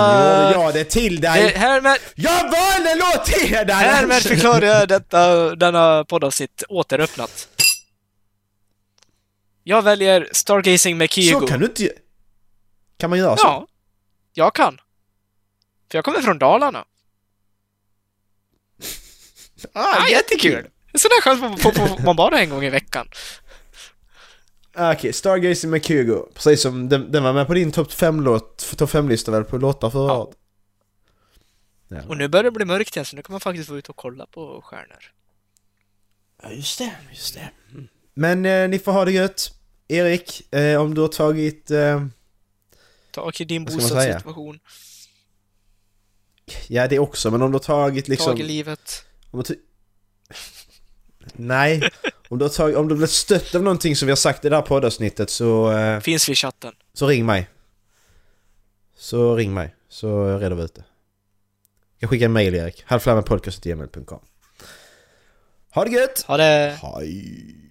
gjorde jag det till dig. Det- Härmed... Jag valde en låt till dig! Härmed förklarar jag detta, denna poddavsnitt återöppnat. Jag väljer Stargazing med Kygo. Så kan du inte... Kan man göra så? Ja, jag kan. För jag kommer från Dalarna. Ah, jättekul! En sån där chans man, får på- man bara en gång i veckan. Ah, Okej, Stargazing med Kygo. Precis som den, den var med på din topp 5-låt, topp 5-lista väl på låtar förra året? Och nu börjar det bli mörkt igen, så nu kan man faktiskt vara ute och kolla på stjärnor. Ja, just det, just det. Mm. Men eh, ni får ha det gött. Erik, eh, om du har tagit... Eh, Tag i din Vad ska man säga? bostadssituation, ja, det också, men om du har tagit liksom... tag i livet. Om du ty- Nej, om du, har tagit, om du blir stött av någonting som vi har sagt i det här poddavsnittet så... Eh, Finns vi i chatten. Så ring mig. Så ring mig, så reder vi ut det. Jag skickar en mail Erik, halvflammapodcast.gmail.com Ha det gött! Ha det! Hej!